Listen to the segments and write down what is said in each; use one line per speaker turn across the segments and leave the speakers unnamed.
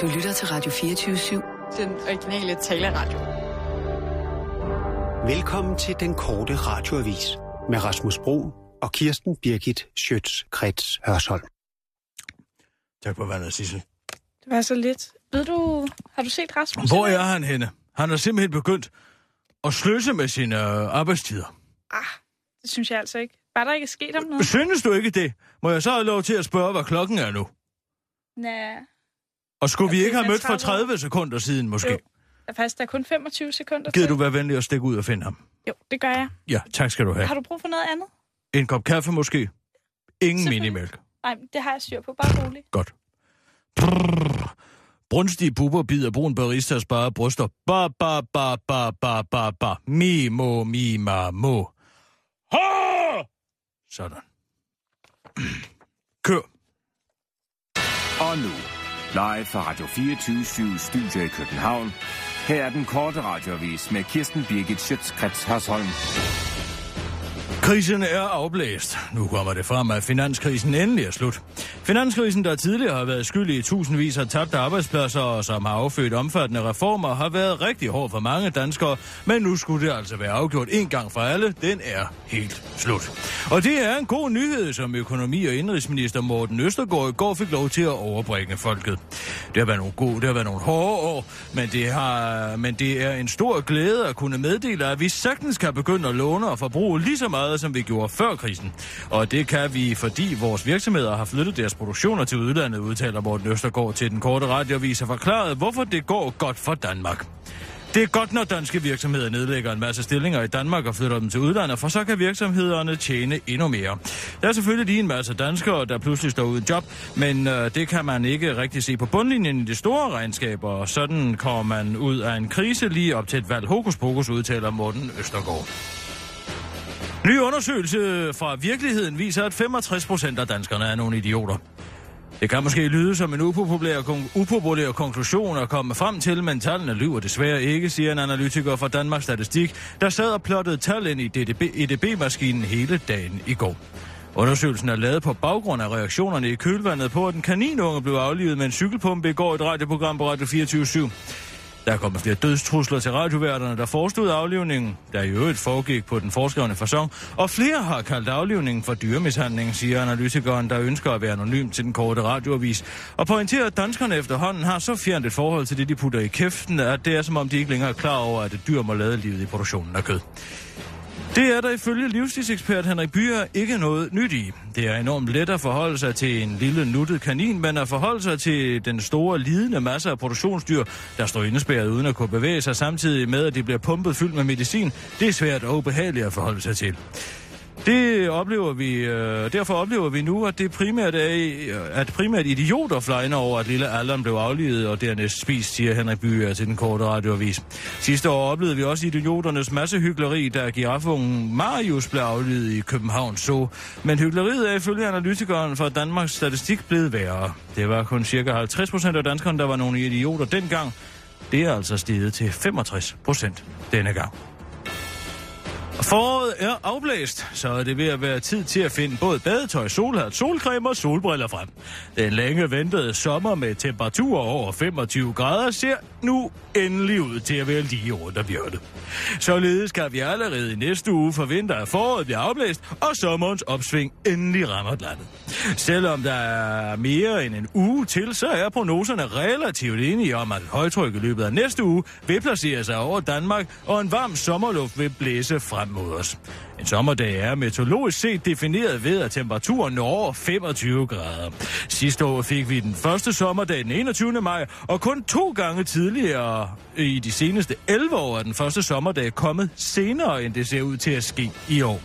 Du lytter til Radio 24
Den originale taleradio.
Velkommen til den korte radioavis med Rasmus Bro og Kirsten Birgit Schøtz-Krets Hørsholm.
Tak for vandet, Sissel.
Det var så lidt. Ved du, har du set Rasmus?
Hvor er han henne? Han har simpelthen begyndt at sløse med sine øh, arbejdstider.
Ah, det synes jeg altså ikke. Var der ikke sket om noget?
Synes du ikke det? Må jeg så have lov til at spørge, hvad klokken er nu?
Nej.
Og skulle vi
Okay,
ikke have
han
mødt for
travler.
30 sekunder siden måske?
Jo. Der er faktisk der er kun 25 sekunder
Gider
til.
du være venlig at stikke ud og finde ham?
Jo, det gør jeg.
Ja, tak skal du have.
Har du brug for noget andet?
En kop kaffe måske? Ingen
Selvfølgelig.
minimælk.
Nej, men det har jeg styr på. Bare rolig.
Godt. Brrr. Brunstige buber bider brun barista og sparer bryster. Ba, ba, ba, ba, ba, ba, ba. Mi, mo, mi, ma, mo. Ha! Sådan. Kør.
Og nu, live fra Radio 24 Studio i København. Her er den korte radiovis med Kirsten Birgit Schøtzgrads Hasholm.
Krisen er afblæst. Nu kommer det frem, at finanskrisen endelig er slut. Finanskrisen, der tidligere har været skyldig i tusindvis af tabte arbejdspladser og som har affødt omfattende reformer, har været rigtig hård for mange danskere, men nu skulle det altså være afgjort en gang for alle. Den er helt slut. Og det er en god nyhed, som økonomi- og indrigsminister Morten Østergaard i går fik lov til at overbringe folket. Det har været nogle gode, det har været nogle hårde år, men det, har, men det er en stor glæde at kunne meddele, at vi sagtens kan begynde at låne og forbruge lige så meget, som vi gjorde før krisen. Og det kan vi, fordi vores virksomheder har flyttet deres produktioner til udlandet, udtaler Morten Østergaard til den korte radiovis og forklaret, hvorfor det går godt for Danmark. Det er godt, når danske virksomheder nedlægger en masse stillinger i Danmark og flytter dem til udlandet, for så kan virksomhederne tjene endnu mere. Der er selvfølgelig lige en masse danskere, der pludselig står uden job, men øh, det kan man ikke rigtig se på bundlinjen i de store regnskaber, og sådan kommer man ud af en krise lige op til et valg. Hokus pokus udtaler Morten Østergaard. Ny undersøgelse fra virkeligheden viser, at 65 procent af danskerne er nogle idioter. Det kan måske lyde som en upopulær, kon- upopulær konklusion at komme frem til, men tallene lyver desværre ikke, siger en analytiker fra Danmarks Statistik, der sad og plottede tal ind i DDB EDB-maskinen E hele dagen i går. Undersøgelsen er lavet på baggrund af reaktionerne i kølvandet på, at en kaninunge blev aflivet med en cykelpumpe i går i et radioprogram på Radio 24 7 der er kommet flere dødstrusler til radioværterne, der forestod aflivningen, der i øvrigt foregik på den forskrevne fasong, og flere har kaldt aflivningen for dyremishandling, siger analytikeren, der ønsker at være anonym til den korte radioavis, og pointerer, at danskerne efterhånden har så fjernt et forhold til det, de putter i kæften, at det er som om de ikke længere er klar over, at et dyr må lade livet i produktionen af kød. Det er der ifølge livsstilsekspert Henrik Byer ikke noget nyt i. Det er enormt let at forholde sig til en lille nuttet kanin, men at forholde sig til den store lidende masse af produktionsdyr, der står indespærret uden at kunne bevæge sig samtidig med, at de bliver pumpet fyldt med medicin, det er svært og ubehageligt at forholde sig til. Det oplever vi, øh, derfor oplever vi nu, at det primært er, i- at primært idioter flejner over, at lille Allan blev aflivet og dernæst spist, siger Henrik Byer til den korte radioavis. Sidste år oplevede vi også idioternes massehyggeleri, da giraffungen Marius blev aflivet i København Zoo. Men hyggeleriet er ifølge analytikeren fra Danmarks Statistik blevet værre. Det var kun cirka 50 procent af danskerne, der var nogle idioter dengang. Det er altså steget til 65 procent denne gang. Foråret er afblæst, så er det ved at være tid til at finde både badetøj, solhat, solcreme og solbriller frem. Den længe ventede sommer med temperaturer over 25 grader ser nu endelig ud til at være lige rundt om hjørnet. Således kan vi allerede i næste uge forvente, at foråret bliver afblæst, og sommerens opsving endelig rammer landet. Selvom der er mere end en uge til, så er prognoserne relativt enige om, at højtryk i løbet af næste uge vil placere sig over Danmark, og en varm sommerluft vil blæse frem mod os. En sommerdag er meteorologisk set defineret ved, at temperaturen når over 25 grader. Sidste år fik vi den første sommerdag den 21. maj, og kun to gange tidligere i de seneste 11 år er den første sommerdag kommet senere, end det ser ud til at ske i år.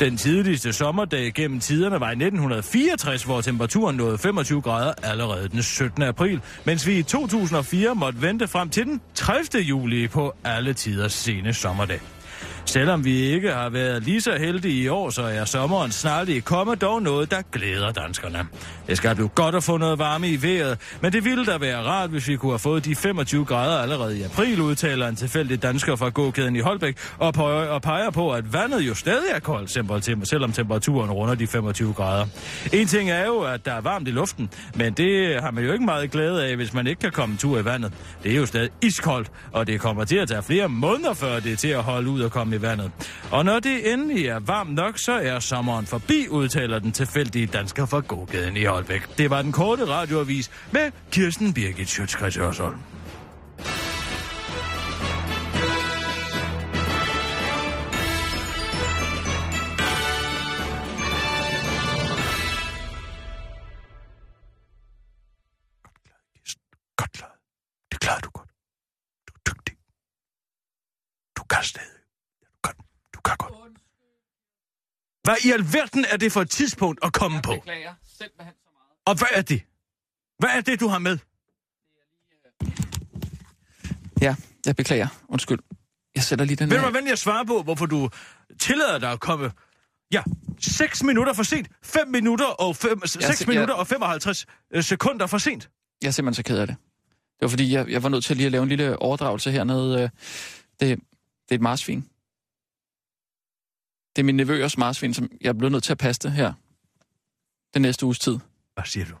Den tidligste sommerdag gennem tiderne var i 1964, hvor temperaturen nåede 25 grader allerede den 17. april, mens vi i 2004 måtte vente frem til den 30. juli på alle tiders sene sommerdag. Selvom vi ikke har været lige så heldige i år, så er sommeren snarlig kommet dog noget, der glæder danskerne. Det skal blive godt at få noget varme i vejret, men det ville da være rart, hvis vi kunne have fået de 25 grader allerede i april, udtaler en tilfældig dansker fra gågaden i Holbæk og, på, og peger på, at vandet jo stadig er koldt, simpel- tem- selvom temperaturen runder de 25 grader. En ting er jo, at der er varmt i luften, men det har man jo ikke meget glæde af, hvis man ikke kan komme en tur i vandet. Det er jo stadig iskoldt, og det kommer til at tage flere måneder, før det er til at holde ud og komme i vandet. Og når det endelig er varmt nok, så er sommeren forbi, udtaler den tilfældige dansker fra gågaden i Holbæk. Det var den korte radioavis med Kirsten Birgit Sjøtskrets Hørsholm. Godt klaret. Det klarer du godt. Du er dygtig. Du kan stadig. Ja, Du kan, du kan godt. Hvad i alverden er det for et tidspunkt at komme på?
Beklager simpelthen så meget.
Og hvad er det? Hvad er det, du har med?
Ja, jeg beklager. Undskyld. Jeg sætter lige den øh,
Vil
her.
du være venlig at svare på, hvorfor du tillader dig at komme... Ja, 6 minutter for sent, 5 minutter og fem, 6
se- jeg-
minutter og 55 øh, sekunder for sent.
Jeg er simpelthen så ked af det. Det var fordi, jeg, jeg var nødt til lige at lave en lille overdragelse hernede. Øh, Det, det er et marsvin. Det er min nevøers marsvin, som jeg er blevet nødt til at passe det her. Den næste uges tid.
Hvad siger du?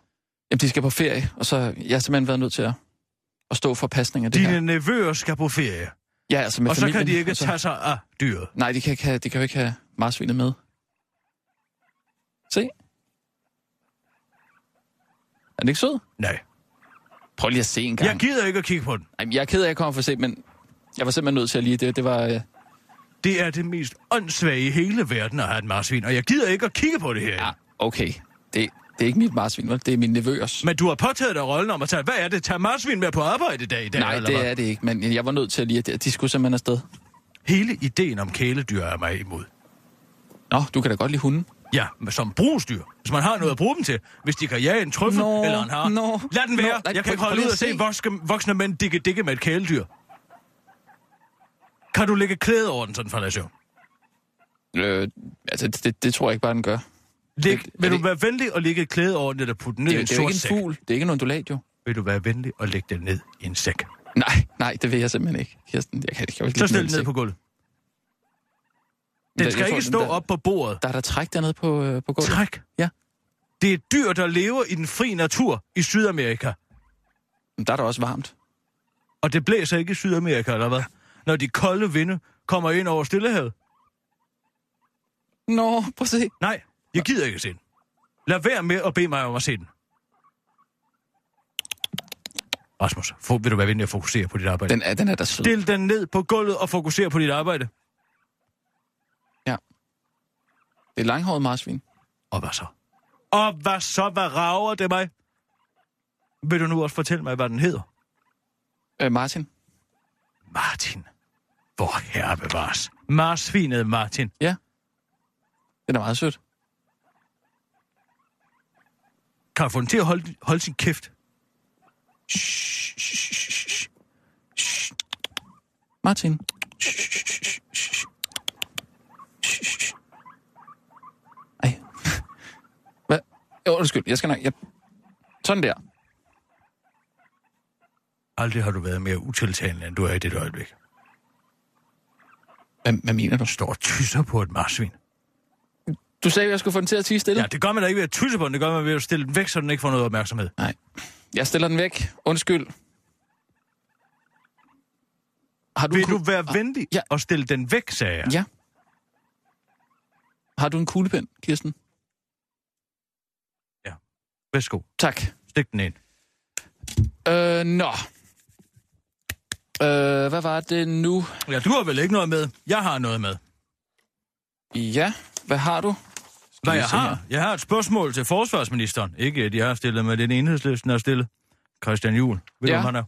Jamen, de skal på ferie, og så jeg har simpelthen været nødt til at, at stå for pasning af det
Dine
her.
nevøer skal på ferie,
Ja, altså med
og så
familien,
kan de ikke
altså.
tage sig af dyret.
Nej, de kan, ikke have, de kan jo ikke have marsvinet med. Se. Er den ikke sød?
Nej,
Prøv lige at se en gang.
jeg gider ikke at kigge på den.
Ej, men jeg er ked af, at jeg kommer for sent, men jeg var simpelthen nødt til at lige det. Det var... Øh...
Det er det mest åndssvage i hele verden at have et marsvin, og jeg gider ikke at kigge på det her.
Ja, okay. Det, det er ikke mit marsvin, vel? Det er min nevøers.
Men du har påtaget dig rollen om at tage, hvad er det, tage marsvin med på arbejde i dag? i dag
Nej,
eller
det
hvad?
er det ikke, men jeg var nødt til at lige... at De skulle simpelthen afsted.
Hele ideen om kæledyr er mig imod.
Nå, du kan da godt lide hunden.
Ja, men som brugsdyr. Hvis man har noget at bruge dem til. Hvis de kan jage en trøffel
Nå,
eller en har.
nå,
Lad den
nå,
være.
nej,
jeg
prøv-
kan ikke holde
prøv
ud
lige
og
at
se
se.
voksne, voksne mænd dikke dikke med et kæledyr. Kan du lægge klæde over den, sådan falder jeg i søvn?
Øh, altså, det, det, det tror jeg ikke bare, den gør.
Læg,
Er- er
vil du
det-
være venlig og lægge et klæde over den, eller putte den ned
Det,
i
det,
en
det er jo
sort
ikke en
sæk?
fugl. Det er ikke en undulat, jo.
Vil du være venlig og lægge den ned i en sæk?
Nej, nej, det vil jeg simpelthen ikke. Kirsten, jeg kan, jeg kan jo ikke
Så
lide
stil den ned
menneske.
på gulvet.
Men
Den
jeg
skal
tror,
ikke stå
der,
op på bordet.
Der er der træk dernede på, øh, på gulvet.
Træk.
Ja.
Det er et dyr, der lever i den fri natur i Sydamerika.
Men der er der også varmt.
Og det blæser ikke i Sydamerika, eller hvad? Når de kolde vinde kommer ind over Stillehavet.
Nå, prøv at se.
Nej, jeg gider ikke se den. Lad være med at bede mig om at se den. Rasmus, få, vil du være venlig at fokusere på dit arbejde? Den...
Den er, den er der sød.
Stil den ned på gulvet og fokusere på dit arbejde.
Det er langhåret marsvin.
Og hvad så? Og hvad så? Hvad rager det mig? Vil du nu også fortælle mig, hvad den hedder?
Øh, Martin.
Martin. Hvor herre bevares. Marsvinet Martin.
Den er meget sødt.
Kan jeg få den til at holde, holde sin kæft?
Martin. Ej. Hvad? Jo, undskyld, jeg skal nok... Jeg... Sådan der.
Aldrig har du været mere utiltalende, end du er i det øjeblik.
Hvad, hvad mener du?
Står og tysser på et marsvin.
Du sagde, at jeg skulle få den til at tige stille.
Ja, det gør man da ikke ved at tysse på den. Det gør man ved at stille den væk, så den ikke får noget opmærksomhed.
Nej. Jeg stiller den væk. Undskyld. Har du, en
Vil
kug-
du være venlig
ja.
og stille den væk, sagde jeg.
Ja. Har du en kuglepen, Kirsten?
Værsgo,
Tak.
stik den ind.
Øh, nå. Øh, hvad var det nu?
Ja, du har vel ikke noget med? Jeg har noget med.
Ja, hvad har du?
Hvad
vi
jeg
se
har? Jeg har et spørgsmål til forsvarsministeren. Ikke, at jeg har stillet med den enhedslisten har stillet. Christian Juhl. Ved ja.
Ja.
du, han er?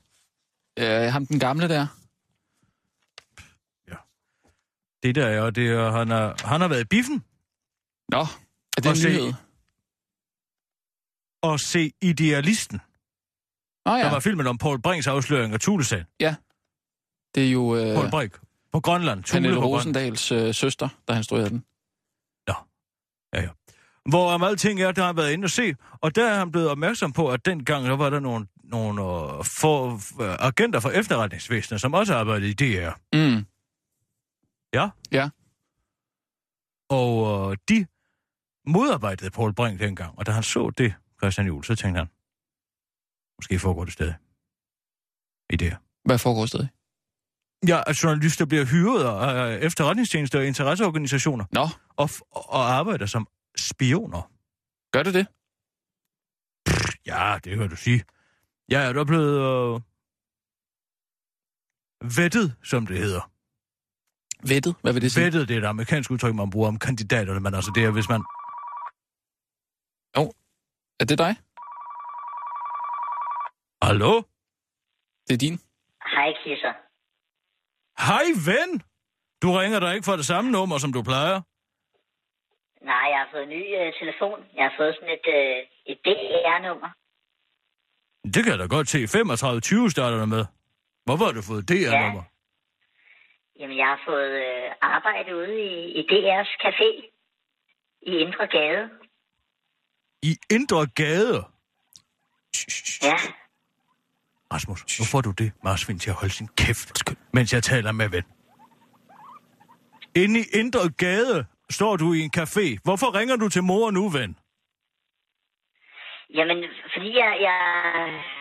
Øh, ham den gamle der.
Det der er, og det er, han, er, han har været i biffen
Nå, er det
Og se-
en nyhed?
og se Idealisten.
Nå
Ja. Der
ja,
var filmen om Paul Brinks afsløring af Tulesagen.
det er jo...
Øh. Paul
Øh,
Brink. På Grønland. Thule
Pernille
på Grønland.
Rosendals øh, søster, der han stod den.
hvor om alting er, der har været inde og se, og der er han blevet opmærksom på, at dengang der var der nogle, nogle øh, for, øh, agenter fra efterretningsvæsenet, som også arbejdede i DR.
Mm.
Og øh, de modarbejdede Paul Brink dengang, og da han så det, Christian Juhl, så tænkte han, måske foregår det stadig. I DR.
Hvad foregår stadig?
Ja, at journalister bliver hyret af øh, efterretningstjenester og interesseorganisationer
Nå,
og, f- og arbejder som spioner.
gør det det?
Ja, det kan du sige. Jeg er da blevet øh, vettet, som det hedder.
Vettet? Hvad vil det sige?
Vettet, det er et amerikansk udtryk, man bruger om kandidaterne, men altså det er, hvis man...
Er det dig?
Hallo?
Det er din?
Hej, kisser.
Hej, ven! Du ringer da ikke fra det samme nummer, som du plejer.
Nej, jeg har fået en ny øh, telefon. Jeg har fået sådan et, øh, et DR-nummer.
Det kan jeg da godt se. 3520 starter der med. Hvorfor har du fået DR-nummer?
Jamen, jeg har fået øh, arbejde ude i, i DR's café i Indre Gade.
I Indre Gade.
Ja,
Rasmus, nu får du det marsvin til at holde sin kæft, mens jeg taler med ven. Inde i Indre Gade står du i en café. Hvorfor ringer du til mor nu, ven?
jamen, fordi jeg, jeg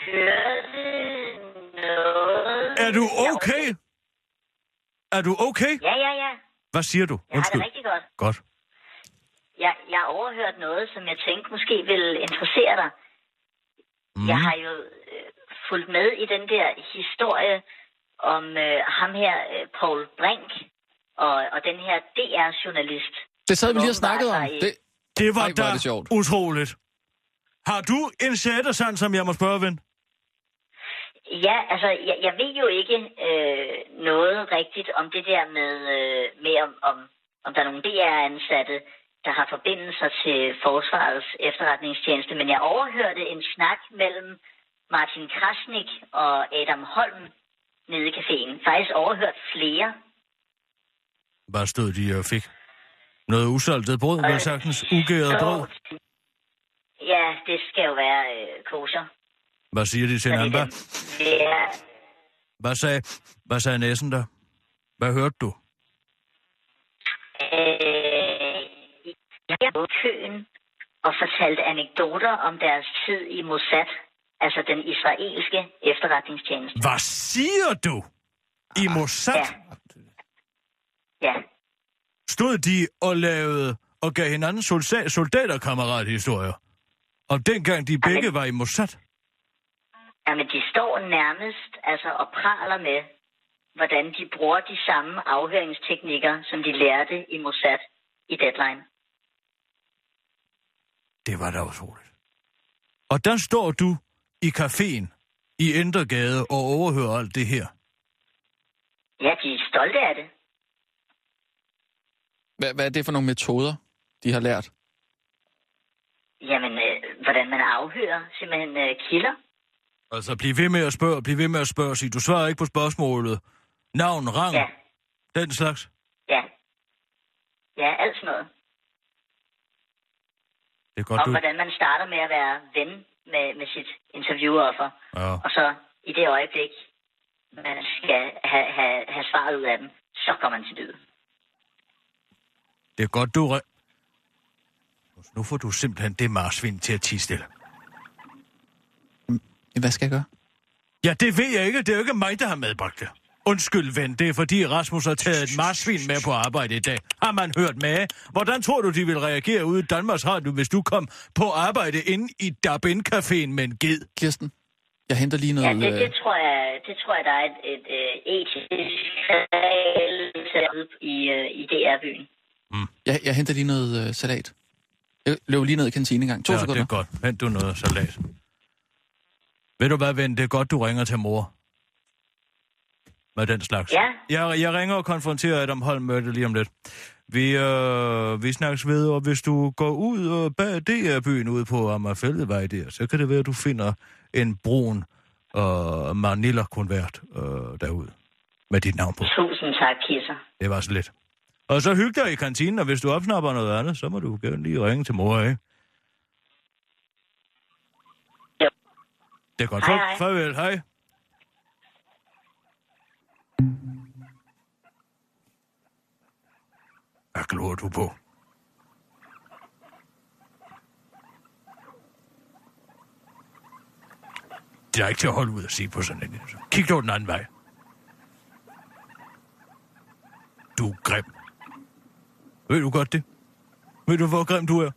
hørte noget...
Er du okay? Er du okay?
Ja, ja, ja.
Hvad siger du?
Jeg har det rigtig godt.
Godt.
Jeg, jeg har overhørt noget, som jeg tænkte måske ville interessere dig. Mm. Jeg har jo øh, fulgt med i den der historie om øh, ham her, øh, Paul Brink, og, og den her DR-journalist.
Det sad vi lige og
Åbenbart
snakkede om.
var I-
Det,
Det var
Ej, hvor er
da
det sjovt.
utroligt. Har du en sættersand, som jeg må spørge, ven?
Ja, altså, jeg, jeg ved jo ikke øh, noget rigtigt om det der med, øh, med om, om, om der er nogle DR-ansatte, der har forbindelser til Forsvarets efterretningstjeneste, men jeg overhørte en snak mellem Martin Krasnik og Adam Holm nede i caféen. Faktisk overhørt flere.
Hvad stod de og fik? Noget usaltet brød, vel sagtens ugæret brød.
Så- Ja, det skal jo være øh, kosher.
Hvad siger de til
Så det er
hinanden? Hvad,
den- Ja,
hvad, sagde, hvad sagde næsen der? Hvad hørte du?
Øh, jeg var i køen og fortalte anekdoter om deres tid i Mossad, altså den israelske efterretningstjeneste.
Hvad siger du? I Mossad
Ah, Ja. Ja,
stod de og lavede og gav hinanden solsa- soldaterkammerathistorier. Og dengang de begge var i Mossad.
Jamen, de står nærmest altså, og praler med, hvordan de bruger de samme afhøringsteknikker, som de lærte i Mossad i Deadline.
Det var da utroligt. Og der står du i caféen i Indregade og overhører alt det her.
Ja, de er stolte af det.
hvad, hvad er det for nogle metoder, de har lært?
Jamen, øh, hvordan man afhører simpelthen øh, kilder.
Altså, bliv ved med at spørge, bliv ved med at spørge, sig. Du svarer ikke på spørgsmålet. Navn, rang,
Ja,
ja. den slags.
ja. Ja, alt sådan noget.
Det er godt,
om
du...
hvordan man starter med at være ven med, med sit interviewoffer,
Ja.
og så i det øjeblik, man skal have, have, have svaret ud af dem, så går man til lyden.
Det er godt, du... Re- nu får du simpelthen det marsvin til at tige stille.
Hvad skal jeg gøre?
Ja, det ved jeg ikke. Det er jo ikke mig, der har medbragt det. Undskyld, ven. Det er fordi Rasmus har taget et marsvin med på arbejde i dag. Har man hørt med? Hvordan tror du, de vil reagere ude i Danmarks Radio, hvis du kom på arbejde inde i Dabin-caféen med en ged?
Kirsten, jeg henter lige
Ja,
noget...
det, det,
øh,
tror jeg, det tror jeg, der er et, et, et etisk regel i, øh, i DR-byen.
jeg, jeg henter lige noget øh, salat. Jeg løber lige ned i kantinen en gang. To
ja,
ja,
det er
sekunder.
godt. Hent du noget salat. Ved du hvad, ven? Det er godt, du ringer til mor. Med den slags.
Ja.
Jeg, jeg ringer og konfronterer Adam Holm med det lige om lidt. Vi, øh, vi snakkes ved, og hvis du går ud og bag DR-byen ude på Amagerfældevej der, så kan det være, at du finder en brun øh, Manila-konvert øh, derude. med dit navn på.
Tusind tak, Kisser.
Det var så lidt. Og så hyg dig i kantinen, og hvis du opsnapper noget andet, så må du gerne lige ringe til mor, ikke?
Jo.
Det er godt.
Hej,
Far-
hej.
Farvel, hej. Hvad glor du på? Det er ikke til at holde ud at se på sådan en. altså. Kig dog den anden vej. Du er grim. Ved du godt det? Ved du, hvor grim du er?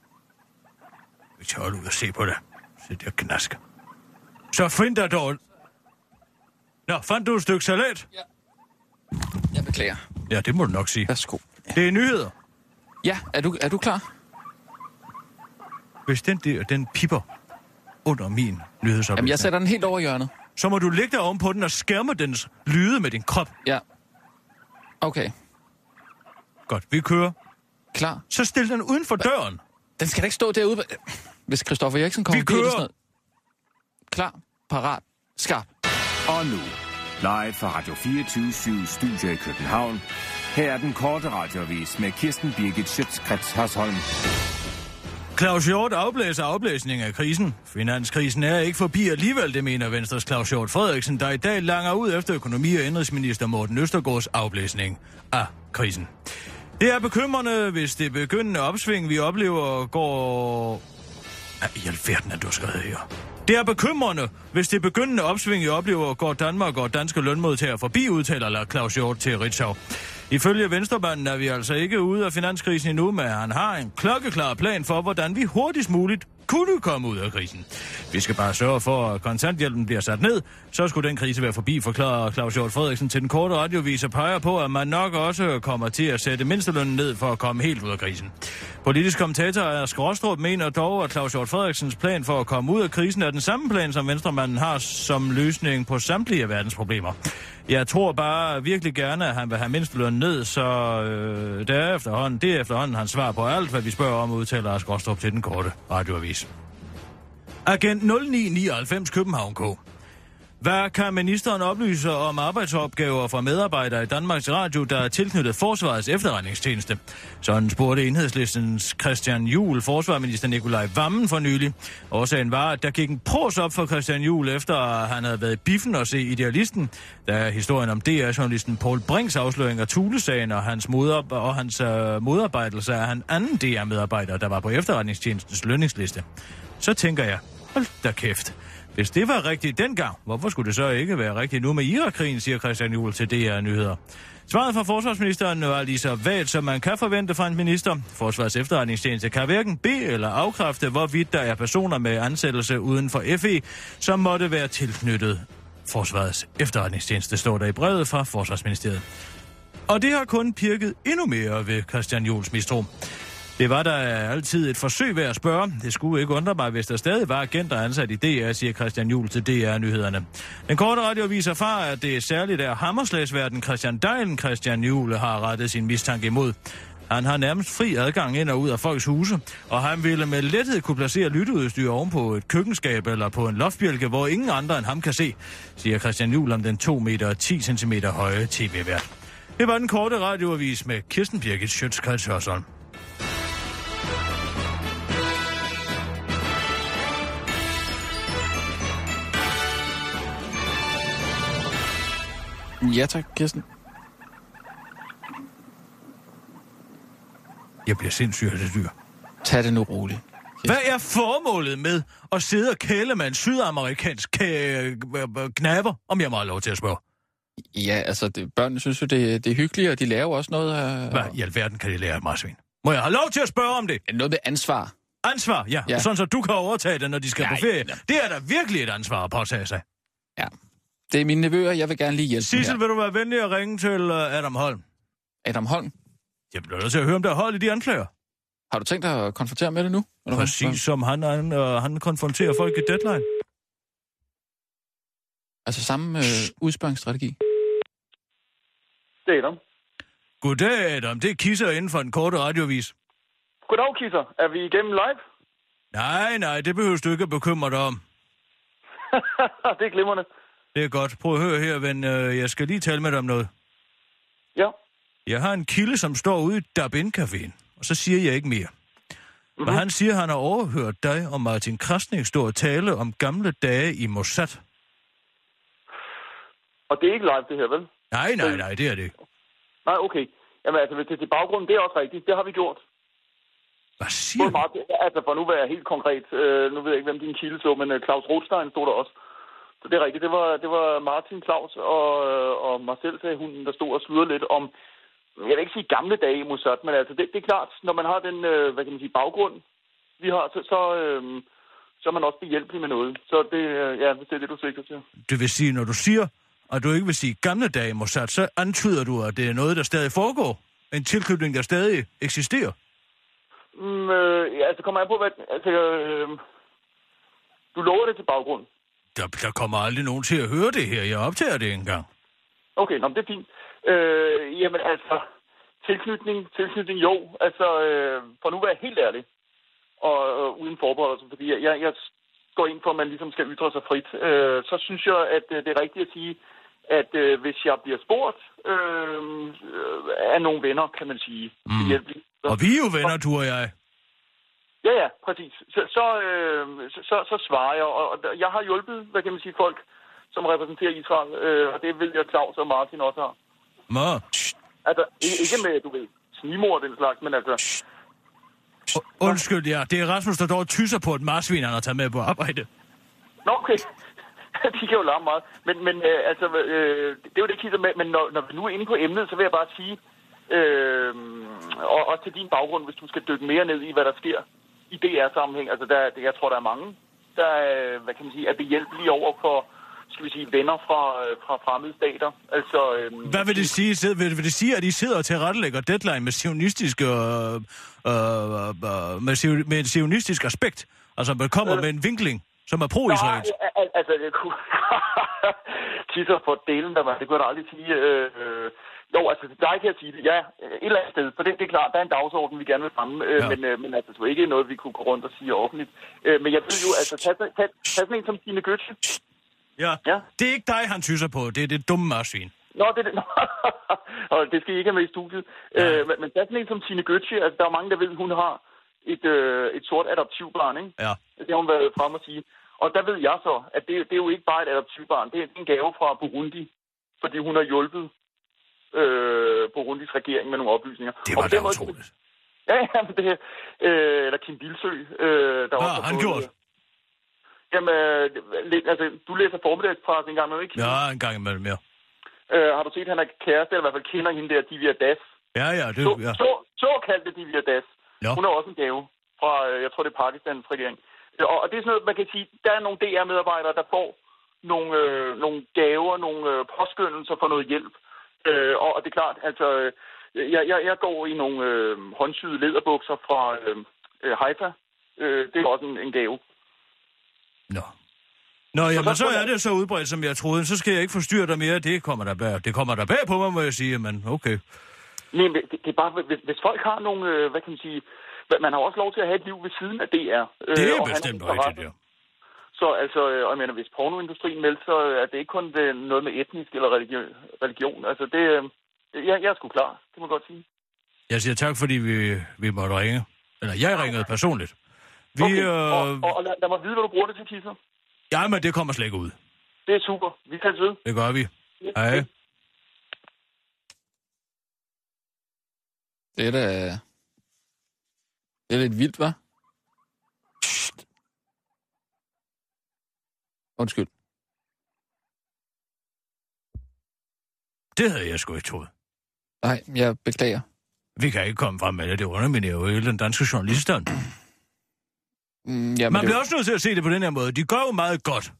Hvis jeg holder ud og se på dig, så det knasker. Så find dig dog... Nå, fandt du et stykke salat?
Jeg beklager.
Ja, det må du nok sige.
Værsgo.
Det er nyheder.
Ja, er du, er du klar?
Hvis den der, den piper under min
Jamen, jeg
nyhedsoplæsning,
sætter den helt over i hjørnet.
så må du ligge dig ovenpå den og skærme dens lyde med din krop.
Ja. Okay,
Godt, vi kører.
klar.
Så stil den uden for døren.
Den skal da ikke stå derude. Hvis Christoffer Eriksen kommer
Vi
forbi eller
kører.
sådan noget. Klar, parat, skarp.
Og nu, live fra Radio 24 Studio i København. Her er den korte radiovis med Kirsten Birgit Schøtzgrads Hasholm.
Claus Hjort afblæser afblæsning af krisen. Finanskrisen er ikke forbi alligevel, det mener Venstres Claus Hjort Frederiksen, der i dag langer ud efter økonomi- og indrigsminister Morten Østergaards afblæsning af krisen. Det er bekymrende, hvis det begyndende opsving, vi oplever, går hvad i alverden er du skrevet her? Det er bekymrende, hvis det begyndende opsving, I oplever, går Danmark og danske lønmodtagere forbi, udtaler Claus Hjort til Ritzau. Ifølge Venstrebanden er vi altså ikke ude af finanskrisen endnu, men han har en klokkeklar plan for, hvordan vi hurtigst muligt kunne komme ud af krisen. Vi skal bare sørge for, at kontanthjælpen bliver sat ned. Så skulle den krise være forbi, forklarer Claus Hjort Frederiksen til den korte radiovis og peger på, at man nok også kommer til at sætte mindstelønnen ned for at komme helt ud af krisen. Politisk kommentator er Skråstrup mener dog, at Claus Hjort Frederiksens plan for at komme ud af krisen er den samme plan, som Venstremanden har som løsning på samtlige af verdens problemer. Jeg tror bare virkelig gerne, at han vil have mindstelønnen ned, så øh, det, er efterhånden, det er efterhånden hans svar på alt, hvad vi spørger om, udtaler Skråstrup til den korte radioavis. Agent 0999 København K. Hvad kan ministeren oplyse om arbejdsopgaver for medarbejdere i Danmarks Radio, der er tilknyttet Forsvarets efterretningstjeneste? Sådan spurgte enhedslistens Christian Juhl, forsvarminister Nikolaj Vammen for nylig. Årsagen var, at der gik en pros op for Christian Juhl, efter at han havde været i biffen og se Idealisten, da historien om DR-journalisten Paul Brinks afsløring af Tulesagen og hans, moder- og hans øh, modarbejdelse af en anden DR-medarbejder, der var på efterretningstjenestens lønningsliste. Så tænker jeg, hold da kæft. Hvis det var rigtigt dengang, hvorfor skulle det så ikke være rigtigt nu med Irakkrigen, siger Christian Juhl til DR Nyheder. Svaret fra forsvarsministeren var lige så vagt, som man kan forvente fra en minister. Forsvarets efterretningstjeneste kan hverken bede eller afkræfte, hvorvidt der er personer med ansættelse uden for FE, som måtte være tilknyttet Forsvarets efterretningstjeneste, står der i brevet fra Forsvarsministeriet. Og det har kun pirket endnu mere ved Christian Juhls mistro. Det var der altid et forsøg ved at spørge. Det skulle ikke undre mig, hvis der stadig var agenter ansat i DR, siger Christian Juhl til DR-nyhederne. Den korte radiovis erfarer, at det er særligt af Hammerslæsverden Christian Dejlen, Christian Juhl har rettet sin mistanke imod. Han har nærmest fri adgang ind og ud af folks huse, og han ville med lethed kunne placere lytteudstyr oven på et køkkenskab eller på en loftbjælke, hvor ingen andre end ham kan se, siger Christian Juhl om den 2 meter og 10 cm høje tv-vært. Det var den korte radioavis med Kirsten Birgit Schøtzgrads Hørsholm.
Ja tak, Kirsten.
Jeg bliver sindssyg af det dyr.
Tag det nu roligt.
Hvad er formålet med at sidde og kæle med en sydamerikansk kæ- knapper, om jeg må have lov til at spørge?
Ja, altså, det, børnene synes jo, det, det er hyggeligt, og de lærer jo også noget, øh,
Hvad i alverden kan de lære af marsvin? Må jeg have lov til at spørge om det?
noget med ansvar.
Ansvar, ja. ja.
Ja.
Sådan så du kan overtage det, når de skal
Nej,
på ferie.
nej.
Det er da virkelig et ansvar at påtage sig.
Ja. Det er mine nevøer, jeg vil gerne lige hjælpe dem
Sissel,
her.
vil du være venlig at ringe til øh, Adam Holm?
Adam Holm,
Jeg bliver nødt til at høre, om der er hold i de anklager.
har du tænkt dig at konfrontere med det nu? Eller hvad?
Præcis som han, han, øh, han konfronterer folk i deadline.
Altså samme øh, udspørgsstrategi.
Det er dem.
Goddag, Adam. Det er kisser inden for en korte radiovis.
Goddag, Kisser. Er vi igennem live?
Nej, nej, det behøver du ikke at bekymre dig om.
det er glimrende.
Det er godt. Prøv at høre her, ven. Øh, Jeg skal lige tale med dig om noget.
Ja.
Jeg har en kilde, som står ude i dabin caféen og så siger jeg ikke mere. Mm-hmm. Men han siger, han har overhørt dig og Martin Krasnik stå og tale om gamle dage i Mossad.
Og det er ikke live, det her, vel?
Nej, nej, nej, det er det ikke.
Nej, okay. Jamen altså, hvis det er til baggrunden, det er også rigtigt. Det har vi gjort.
Hvad siger
Både
du?
meget, altså, for nu at være helt konkret, øh, nu ved jeg ikke, hvem din kilde så, men øh, Claus Rothstein stod der også. Så det er rigtigt. Det var, det var Martin, Claus og, øh, og mig selv, sagde hunden, der stod og sludrede lidt om, jeg vil ikke sige gamle dage i Mossad, men altså, det, det er klart, når man har den, øh, hvad kan man sige, baggrund, vi har, så, så, øh, så er man også behjælpelig med noget. Så det, øh, ja, hvis det er det, du sigter til.
Det vil sige, når du siger, at du ikke vil sige gamle dage i Mossad, så antyder du, at det er noget, der stadig foregår. En tilknytning, der stadig eksisterer.
Mm, øh, ja, altså, kommer jeg på, hvad... Altså, øh, du lover det til baggrund.
Der, der kommer aldrig nogen til at høre det her. Jeg optager det engang.
Okay, nå, men det er fint. Øh, jamen altså, tilknytning, tilknytning, jo. Altså, øh, for nu at være helt ærlig, og øh, uden forbehold, altså, fordi jeg, jeg, jeg går ind for, at man ligesom skal ytre sig frit, øh, så synes jeg, at øh, det er rigtigt at sige, at øh, hvis jeg bliver spurgt øh, øh, af nogle venner, kan man sige, mm. så,
Og vi er jo venner, du og jeg.
Ja, ja, præcis. Så, så, øh, så, så, så svarer jeg, og, og jeg har hjulpet, hvad kan man sige, folk, som repræsenterer Israel, øh, og det vil jeg Claus og Martin også har.
Må.
Altså, ikke, ikke med, du ved, snimor og den slags, men altså...
Undskyld jer, det er Rasmus, der dog tyser på et marsvin, han har taget med på arbejde.
Nå, okay. De kan jo larme meget. Men, men øh, altså, øh, det er jo det, Kisser, med, men når, når vi nu er inde på emnet, så vil jeg bare sige, øh, og også til din baggrund, hvis du skal dykke mere ned i, hvad der sker i DR-sammenhæng. Altså, der, jeg tror, der er mange, der øh, hvad kan man sige, er behjælpelige over for, skal vi sige, venner fra, øh, fra fremmede stater. Altså, øh,
Hvad vil det sige? Sid- Vil vil det sige, at I sidder og tilrettelægger deadline med, sionistiske, øh, øh, øh, med, sion- med et sionistisk aspekt? Altså, man kommer med en vinkling, som er pro-israelsk.
Nej, al- altså, det kunne... Kisser for delen, der var, det kunne jeg da aldrig sige. Øh, øh, jo, altså, til dig kan jeg sige det, ja, et eller andet sted. For det, det er klart, der er en dagsorden, vi gerne vil fremme, øh,
Ja.
ja. men, øh, men altså, det var ikke noget, vi kunne gå rundt og sige offentligt. Øh, men jeg ved jo, altså, tag, tag, tag, tag sådan en som Tine Gøtje.
Ja.
Ja.
Det er ikke dig, han tyser på. Det er det dumme marsvin.
Nå, det, er det, og det skal I ikke have med i studiet. Ja. Øh, men, men tag sådan en som Tine Gøtje, altså, der er mange, der ved, hun har et, øh, et sort adoptivbarn, ikke?
Ja.
Det har hun været frem og sige. Og der ved jeg så, at det, det er jo ikke bare et adoptivbarn. Det er en gave fra Burundi, fordi hun har hjulpet øh, Burundis regering med nogle oplysninger.
Det
Og
var
på
da
den måde-
utroligt.
Ja, ja, men det øh, Eller Kim Bilsø. Øh, der
Hvad
også
har han
fået-
gjort?
Jamen, øh, lidt- altså, du læser formiddagspressen engang, men ikke?
Ja, en gang imellem, ja.
Øh, har du set, at han er kæreste, eller i hvert fald kender hende der, Divya Das?
Ja, ja, det,
Så,
ja.
så, såkaldte Divya Das.
Nå.
Hun har også en gave fra, øh, jeg tror det er Pakistans regering. Øh, Og og det er sådan noget, man kan sige, der er nogle DR-medarbejdere, der får nogle, øh, nogle gaver, nogle øh, påskyndelser for noget hjælp. Øh, og, og det er klart, altså, øh, jeg, jeg, jeg går i nogle øh, håndsyede lederbukser fra øh, øh, Haifa. Øh, det er også en, en gave.
Nå. Nå, jamen,
der-
så er det så udbredt, som jeg troede. Så skal jeg ikke forstyrre dig mere. Det kommer der bag, det kommer der bag på mig, må jeg sige. Men
Øh,
okay.
Men det, det er bare, hvis, hvis folk har nogle, øh, hvad kan man sige, man har også lov til at have et liv ved siden af DR. Øh,
Det
og
er
han har
bestemt
interesser.
rigtigt, ja.
Så altså, øh, og jeg mener, hvis pornoindustrien meldte, så øh, er det ikke kun øh, noget med etnisk eller religion. religion. Altså, det, øh, jeg, jeg er sgu klar, det må jeg godt sige.
Jeg siger tak, fordi vi, vi måtte ringe. Eller jeg ringede personligt. Vi, okay.
og,
øh,
og, og lad, lad mig vide, hvad du bruger det til, Kisser.
ja, men det kommer slet ikke ud.
Det er super. Vi tager ved.
Det gør vi. Hej.
Det er da... Det er lidt vildt, hva'? Psst. Undskyld.
Det havde jeg sgu ikke troet.
Nej, jeg beklager.
Vi kan ikke komme frem med det. Det underminerer jo hele den danske journaliststand.
Mm, jamen,
Man
det,
bliver også nødt til at se det på den her måde. De gør jo meget godt.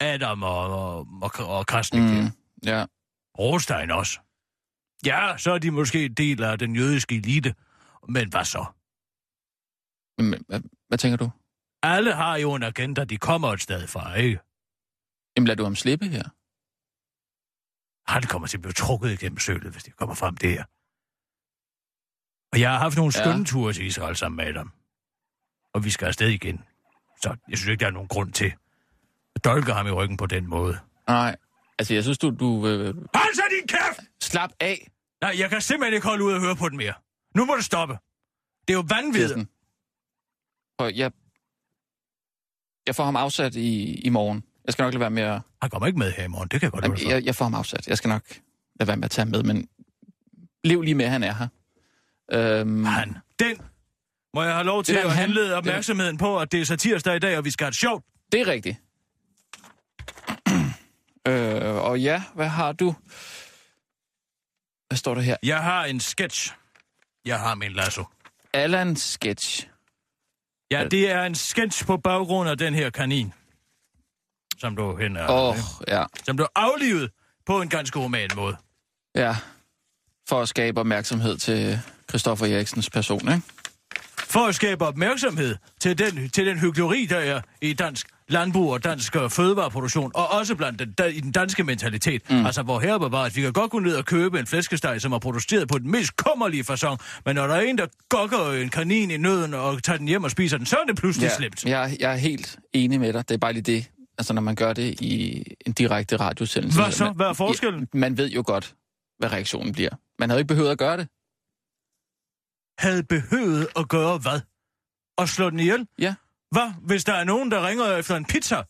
Adam og, og, og, og Krasnik. Mm.
mm, ja.
Rostein også. Ja, så er de måske en del af den jødiske elite. Men hvad så?
Jamen, hvad, hvad tænker du?
Alle har jo en agenda, de kommer et sted fra, ikke?
Jamen, lader du ham slippe her?
Han kommer til at blive trukket igennem sølet, hvis det kommer frem det her. Og jeg har haft nogle
Ja.
skønne ture til Israel sammen med Adam. Og vi skal afsted igen. Så jeg synes ikke, der er nogen grund til at dolke ham i ryggen på den måde.
Nej. Altså, jeg synes, du... du øh,
Hold så din kæft!
slap af,
Nej, jeg kan simpelthen ikke holde ud og høre på den mere. Nu må du stoppe. Det er jo vanvittigt.
Kirsten. Og jeg... Jeg får ham afsat i, i morgen. Jeg skal nok lade være med at...
Han kommer ikke med her i morgen, det kan jeg godt
Jamen,
lade jeg...
jeg, jeg får ham afsat. Jeg skal nok lade være med at tage ham med, men lev lige med, at han er her. Øhm,
Han, den må jeg have lov til
Det er
at
da en han.
henlede
Det er-
opmærksomheden på, at det er satirsdag i dag, og vi skal have det sjovt.
det er rigtigt. øh, og ja, hvad har du? Hvad står der her?
Jeg har en sketch. Jeg har min lasso.
Allan Sketch.
Ja, det er en sketch på baggrund af den her kanin, som du hender,
Åh, oh, ja.
som du aflivet på en ganske human måde.
Ja. For at skabe opmærksomhed til Christoffer Eriksens person, ikke?
For at skabe opmærksomhed til den, til den hyggeleri, der er i dansk landbrug og dansk øh, fødevareproduktion, og også blandt den, da, i den danske mentalitet. Mm. Altså, hvor herre var, at vi kan godt gå ned og købe en flæskesteg, som er produceret på den mest kummerlige façon, men når der er en, der gokker en kanin i nøden og tager den hjem og spiser den, så er det pludselig ja. slemt.
Jeg, jeg er helt enig med dig. Det er bare lige det, altså når man gør det i en direkte radiosendelse.
Hvad så?
Man-
Hvad er forskellen?
Ja, man ved jo godt, hvad reaktionen bliver. Man havde jo ikke behøvet at gøre det.
Havde behøvet at gøre hvad? Og slå den ihjel?
Ja.
Hvad, hvis der er nogen, der ringer efter en pizza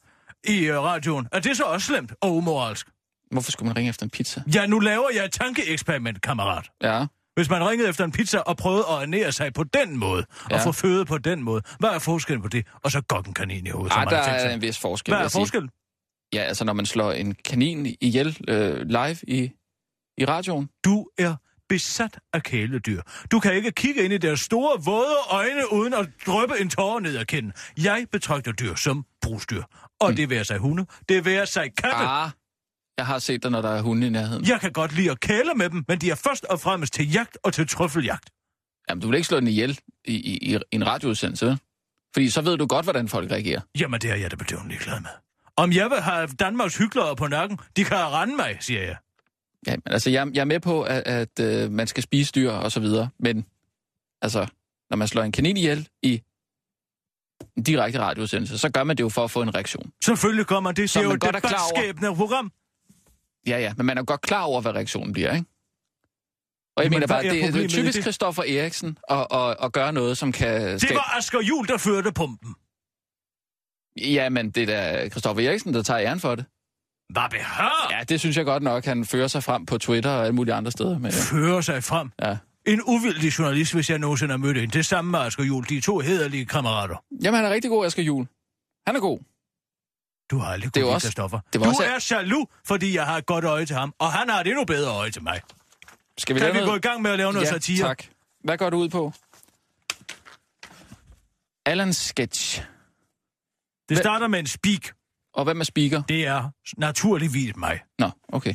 i øh, radioen? Er det så også slemt og umoralsk?
Hvorfor skulle man ringe efter en pizza?
Ja, nu laver jeg et tankeeksperiment, kammerat.
Ja,
Hvis man ringede efter en pizza og prøvede at ernære sig på den måde, ja. og
Ja.
få føde på den måde, hvad er forskellen på det? Og så godt en kanin i hovedet,
Ej,
som
der
man har tænkt
er
sig.
en vis forskel.
Hvad
vil
er
jeg sige.
forskellen?
Ja, altså når man slår en kanin ihjel øh, live i, i radioen.
Du er besat af kæledyr. Du kan ikke kigge ind i deres store, våde øjne, uden at drøbe en tårer ned ad kinden. Jeg betragter dyr som brugsdyr. Og mm. det være sig hunde, det være sig katte. Ah.
Ah, jeg har set dig, når der er hunde i nærheden.
Jeg kan godt lide at kæle med dem, men de er først og fremmest til jagt og til trøffeljagt.
Jamen, du vil ikke slå den ihjel i, i, i en radioudsendelse, vel? Fordi så ved du godt, hvordan folk reagerer.
Jamen, det er jeg da bedøvende ligeglad med. Om jeg vil have Danmarks hyggelere på nakken, de kan rende mig, siger jeg.
Ja, men altså, jeg, jeg er med på, at, at øh, man skal spise dyr og så videre, men altså, når man slår en kanin ihjel i en direkte radiosendelse, så gør man det jo for at få en reaktion.
Selvfølgelig gør man det. Det
Som
er jo
man
et
godt er klar over.
debatskabende program.
Ja, ja, men man er jo godt klar over, hvad reaktionen bliver, ikke? Og jeg
Men
mener
hvad
bare,
er
det, det er
problemet i
typisk
det?
Christoffer Eriksen at, at, at gøre noget, som kan...
Det var Asger Jul, der førte pumpen.
Ja, men det er da Christoffer Eriksen, der tager æren for det.
Hvad behøver? Ja.
Ja, det synes jeg godt nok, han fører sig frem på Twitter og alle mulige andre steder. Men, øh.
Fører sig frem.
ja.
En uvildig journalist, hvis jeg nogensinde har mødt en. Det samme med Asger Jul. De er to hederlige kammerater.
Jamen, han er rigtig god, Asger Jul. Han er god.
Du har aldrig
Det
kunnet
er jo
lide
også-
Christoffer.
det var
Du
også-
er jaloux, fordi jeg har et godt øje til ham. Og han har et endnu bedre øje til mig.
Skal vi
Kan
lave
vi
noget?
gå i gang med at lave noget
ja,
satire?
tak. Hvad går du ud på? Allan Sketch.
Det
Hvad-
starter med en speak.
Og hvem er speaker?
Det er naturligvis mig.
Nå, okay.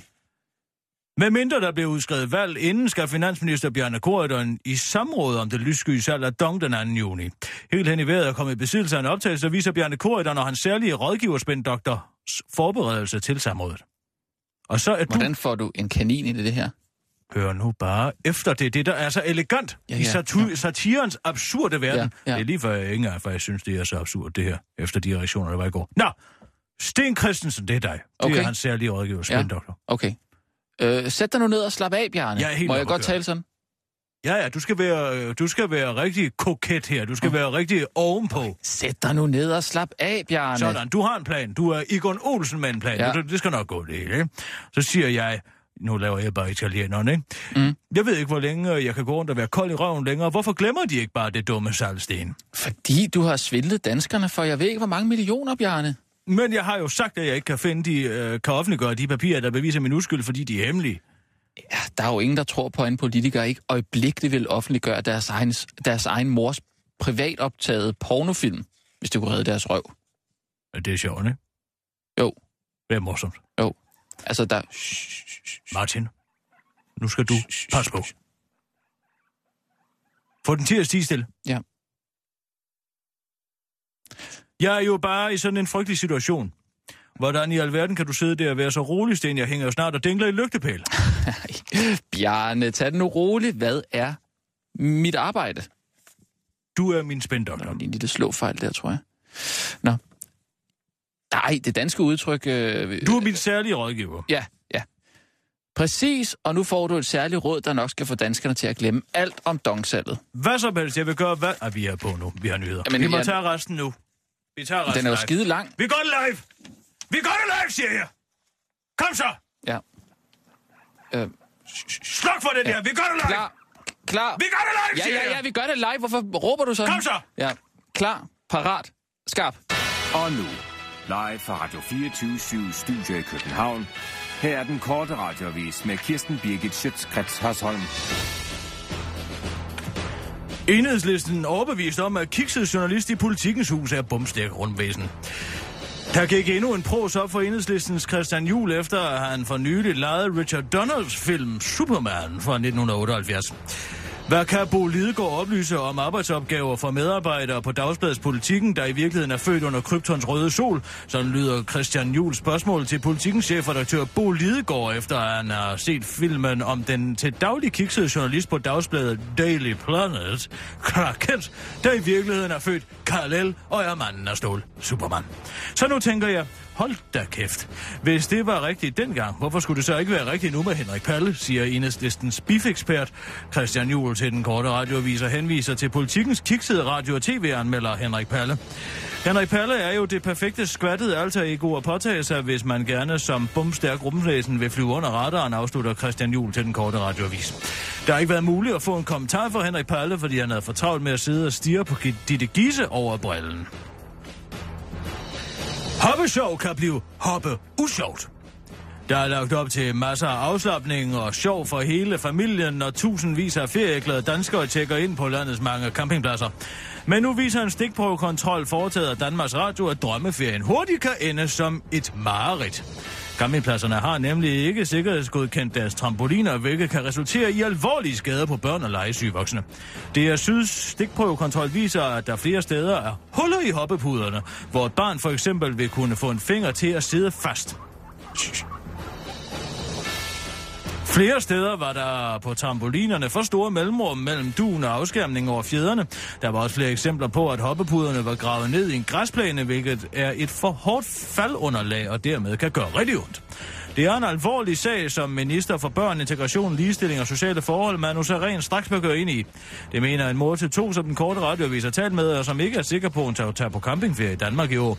Med mindre der bliver udskrevet valg, inden skal finansminister Bjarne Korydon i samråd om det lyssky salg af Dong den 2. juni. Helt hen i vejret er kommet i besiddelse af en optagelse, der viser Bjarne Korydon og hans særlige rådgiverspænddoktor forberedelse til samrådet. Og så er du...
Hvordan får du en kanin ind i det her?
Hør nu bare efter det. er Det, der er så elegant ja,
Ja,
ja, i
ja,
satir- ja. satirens absurde verden. Ja, ja.
Ja, ja.
Det er lige før, jeg ikke engang for jeg synes, det er så absurd, det her. Efter de reaktioner, der var i går. Nå! Sten Christensen, det er dig. Det okay.
Okay.
er hans særlige rådgiver,
Ja.
spændoktor.
Okay. Øh, sæt dig nu ned og slap af, Bjarne.
Jeg er helt
Må
oppe
jeg
at
godt
køre.
tale sådan?
Ja, ja, du skal være, øh, du skal være rigtig koket her. Du skal være rigtig ovenpå.
Sæt dig nu ned og slap af, Bjarne.
Sådan, du har en plan. Du er Igon Olsen med en plan. Ja.
Ja.
Det, det skal nok gå, det hele, ikke? Så siger jeg, nu laver jeg bare italieneren, ikke? Mm. Jeg ved ikke, hvor længe øh, jeg kan gå rundt og være kold i røven længere. Hvorfor glemmer de ikke bare det dumme salgsten?
Fordi du har svindlet danskerne for jeg ved ikke, hvor mange millioner, Bjarne.
Men jeg har jo sagt, at jeg ikke kan finde de, øh, kan offentliggøre de papirer, der beviser min uskyld, fordi de er hemmelige.
Ja, der er jo ingen, der tror på, at en politiker ikke øjeblikkeligt vil offentliggøre deres egen, deres egen mors privatoptaget pornofilm, hvis det kunne redde deres røv.
Ja, Det er sjovt, ikke?
Jo,
Det er morsomt.
jo. Altså, der...
Martin, nu skal du passe på. Få den til at stige stille.
Ja.
Jeg er jo bare i sådan en frygtelig situation. Hvordan i alverden kan du sidde der og være så rolig, Sten? Jeg hænger jo snart og dingler i lygtepæl.
Bjarne, tag den nu roligt. Hvad er mit arbejde?
Du er min
Der var
spændoktor.
lige en lille slåfejl der, tror jeg. Nå. Nej, det danske udtryk... Øh,
Du er min særlige rådgiver.
Ja, ja. Præcis, og nu får du et særligt råd, der nok skal få danskerne til at glemme alt om dongsalget.
Hvad som helst, jeg vil gøre hvad... Ah, vi er på nu. Vi har nyheder.
Jamen,
Jamen, vi må
jeg-
tage resten nu. Vi tager resten
Den er jo
live.
skide lang.
Vi går det live! Vi går det live, siger jeg! Kom så!
Ja. Øh,
Sluk for det ja. der! Vi gør det live!
klar. Klar.
Vi gør det live,
Ja,
siger
ja,
jeg!
ja, vi gør det live. Hvorfor råber du sådan?
Kom så!
Ja. Klar. Parat. Skarp.
Og nu, live fra Radio 24 Studio i København. Her er den korte radiovis med Kirsten Birgit Schøtzgrads Hasholm.
Enhedslisten er overbevist om, at kikset journalist i politikens hus er bumstærk rundvæsen. Der gik endnu en pros op for enhedslistens Christian Juhl, efter at han for nylig lejede Richard Donners film Superman fra 1978. Hvad kan Bo Lidegaard oplyse om arbejdsopgaver for medarbejdere på Dagsbladets Politikken, der i virkeligheden er født under kryptons røde sol? Sådan lyder Christian Jules spørgsmål til Politikens chefredaktør Bo Lidegaard, efter han har set filmen om den til daglig kiksede journalist på Dagsbladet Daily Planet, Krakens, der i virkeligheden er født Karl og er manden af stål, Superman. Så nu tænker jeg, hold da kæft. Hvis det var rigtigt dengang, hvorfor skulle det så ikke være rigtigt nu med Henrik Palle, siger enhedslistens bifekspert Christian Juhl til den korte radioavis og henviser til politikens kiksede radio- og tv-anmelder Henrik Palle. Henrik Palle er jo det perfekte skvattede alter ego at påtage sig, hvis man gerne som bumstærk rumvæsen vil flyve under radaren, afslutter Christian Juhl til den korte radioavis. Der har ikke været muligt at få en kommentar fra Henrik Palle, fordi han havde for travlt med at sidde og stirre på Ditte Gise over brillen. Hoppesjov kan blive hoppe usjovt. Der er lagt op til masser af afslappning og sjov for hele familien, når tusindvis af ferieglade danskere tjekker ind på landets mange campingpladser. Men nu viser en stikprøvekontrol foretaget af Danmarks Radio, at drømmeferien hurtigt kan ende som et mareridt. Campingpladserne har nemlig ikke sikkerhedsgodkendt deres trampoliner, hvilket kan resultere i alvorlige skader på børn og legesyge voksne. Det er Syds stikprøvekontrol viser, at der flere steder er huller i hoppepuderne, hvor et barn for eksempel vil kunne få en finger til at sidde fast. Flere steder var der på trampolinerne for store mellemrum mellem duen og afskærmning over fjederne. Der var også flere eksempler på, at hoppepuderne var gravet ned i en græsplæne, hvilket er et for hårdt faldunderlag og dermed kan gøre rigtig ondt. Det er en alvorlig sag, som minister for børn, integration, ligestilling og sociale forhold, Manu Saren, straks bør gøre ind i. Det mener en mor til to, som den korte radioavis har talt med, og som ikke er sikker på, at hun tager- tager på campingferie i Danmark i år.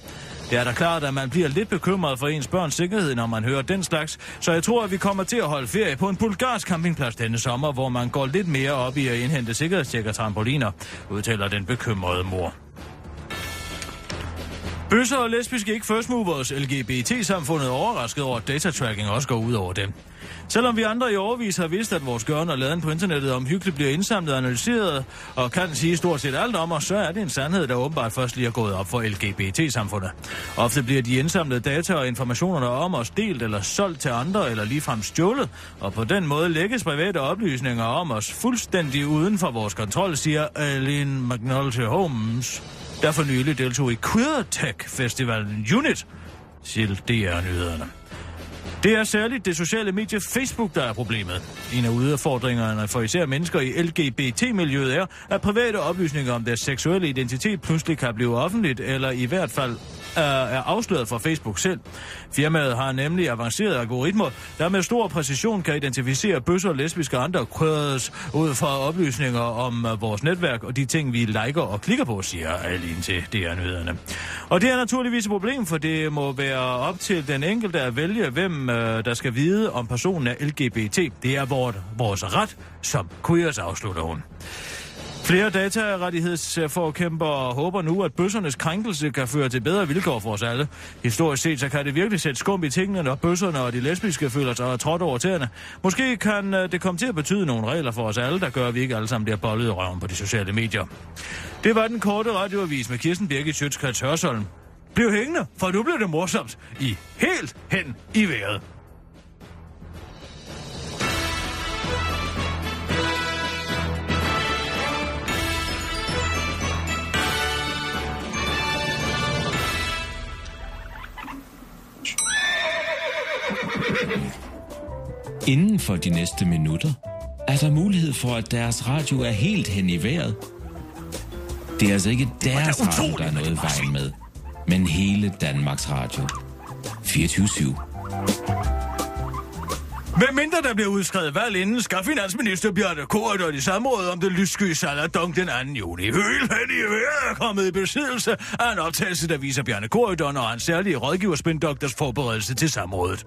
Det er da klart, at man bliver lidt bekymret for ens børns sikkerhed, når man hører den slags, så jeg tror, at vi kommer til at holde ferie på en bulgarsk campingplads denne sommer, hvor man går lidt mere op i at indhente sikkerhedstjek og trampoliner, udtaler den bekymrede mor. Bøsser og lesbiske ikke first movers LGBT-samfundet er overrasket over, at datatracking også går ud over dem. Selvom vi andre i overvis har vidst, at vores gørn og laden på internettet omhyggeligt bliver indsamlet og analyseret, og kan sige stort set alt om os, så er det en sandhed, der åbenbart først lige er gået op for LGBT-samfundet. Ofte bliver de indsamlede data og informationerne om os delt eller solgt til andre eller ligefrem stjålet, og på den måde lægges private oplysninger om os fuldstændig uden for vores kontrol, siger Aline McNulty Holmes der for nylig deltog i Queer Tech Festivalen Unit, siger DR-nyhederne. Det er særligt det sociale medie Facebook, der er problemet. En af udfordringerne for især mennesker i LGBT-miljøet er, at private oplysninger om deres seksuelle identitet pludselig kan blive offentligt, eller i hvert fald øh, er afsløret fra Facebook selv. Firmaet har nemlig avancerede algoritmer, der med stor præcision kan identificere bøsser, lesbiske og andre queers ud fra oplysninger om øh, vores netværk og de ting, vi liker og klikker på, siger Aline til DR-nyhederne. Og det er naturligvis et problem, for det må være op til den enkelte at vælge, hvem øh, der skal vide, om personen er LGBT. Det er vores, vores ret, som queers afslutter hun. Flere datarettighedsforkæmper håber nu, at bøssernes krænkelse kan føre til bedre vilkår for os alle. Historisk set, så kan det virkelig sætte skum i tingene, når bøsserne og de lesbiske føler sig trådt over tæerne. Måske kan øh, det komme til at betyde nogle regler for os alle, der gør, at vi ikke alle sammen bliver bollet i røven på de sociale medier. Det var den korte radioavis med Kirsten Birgit Sjøtskrets Hørsholm. Bliv hængende, for nu bliver det morsomt. I helt hen i vejret.
Inden for de næste minutter er der mulighed for, at deres radio er helt hen i vejret. Det er altså ikke deres radio, der er noget i vejen med, men hele Danmarks Radio. 24-7.
Hvem mindre der bliver udskrevet valg inden, skal finansminister Bjarne Korydon i samråd om det lyssky saladong den 2. juni. Hele hen i øret er kommet i besiddelse af en optagelse, der viser Bjarne Korydon og hans særlige rådgiverspindoktors forberedelse til samrådet.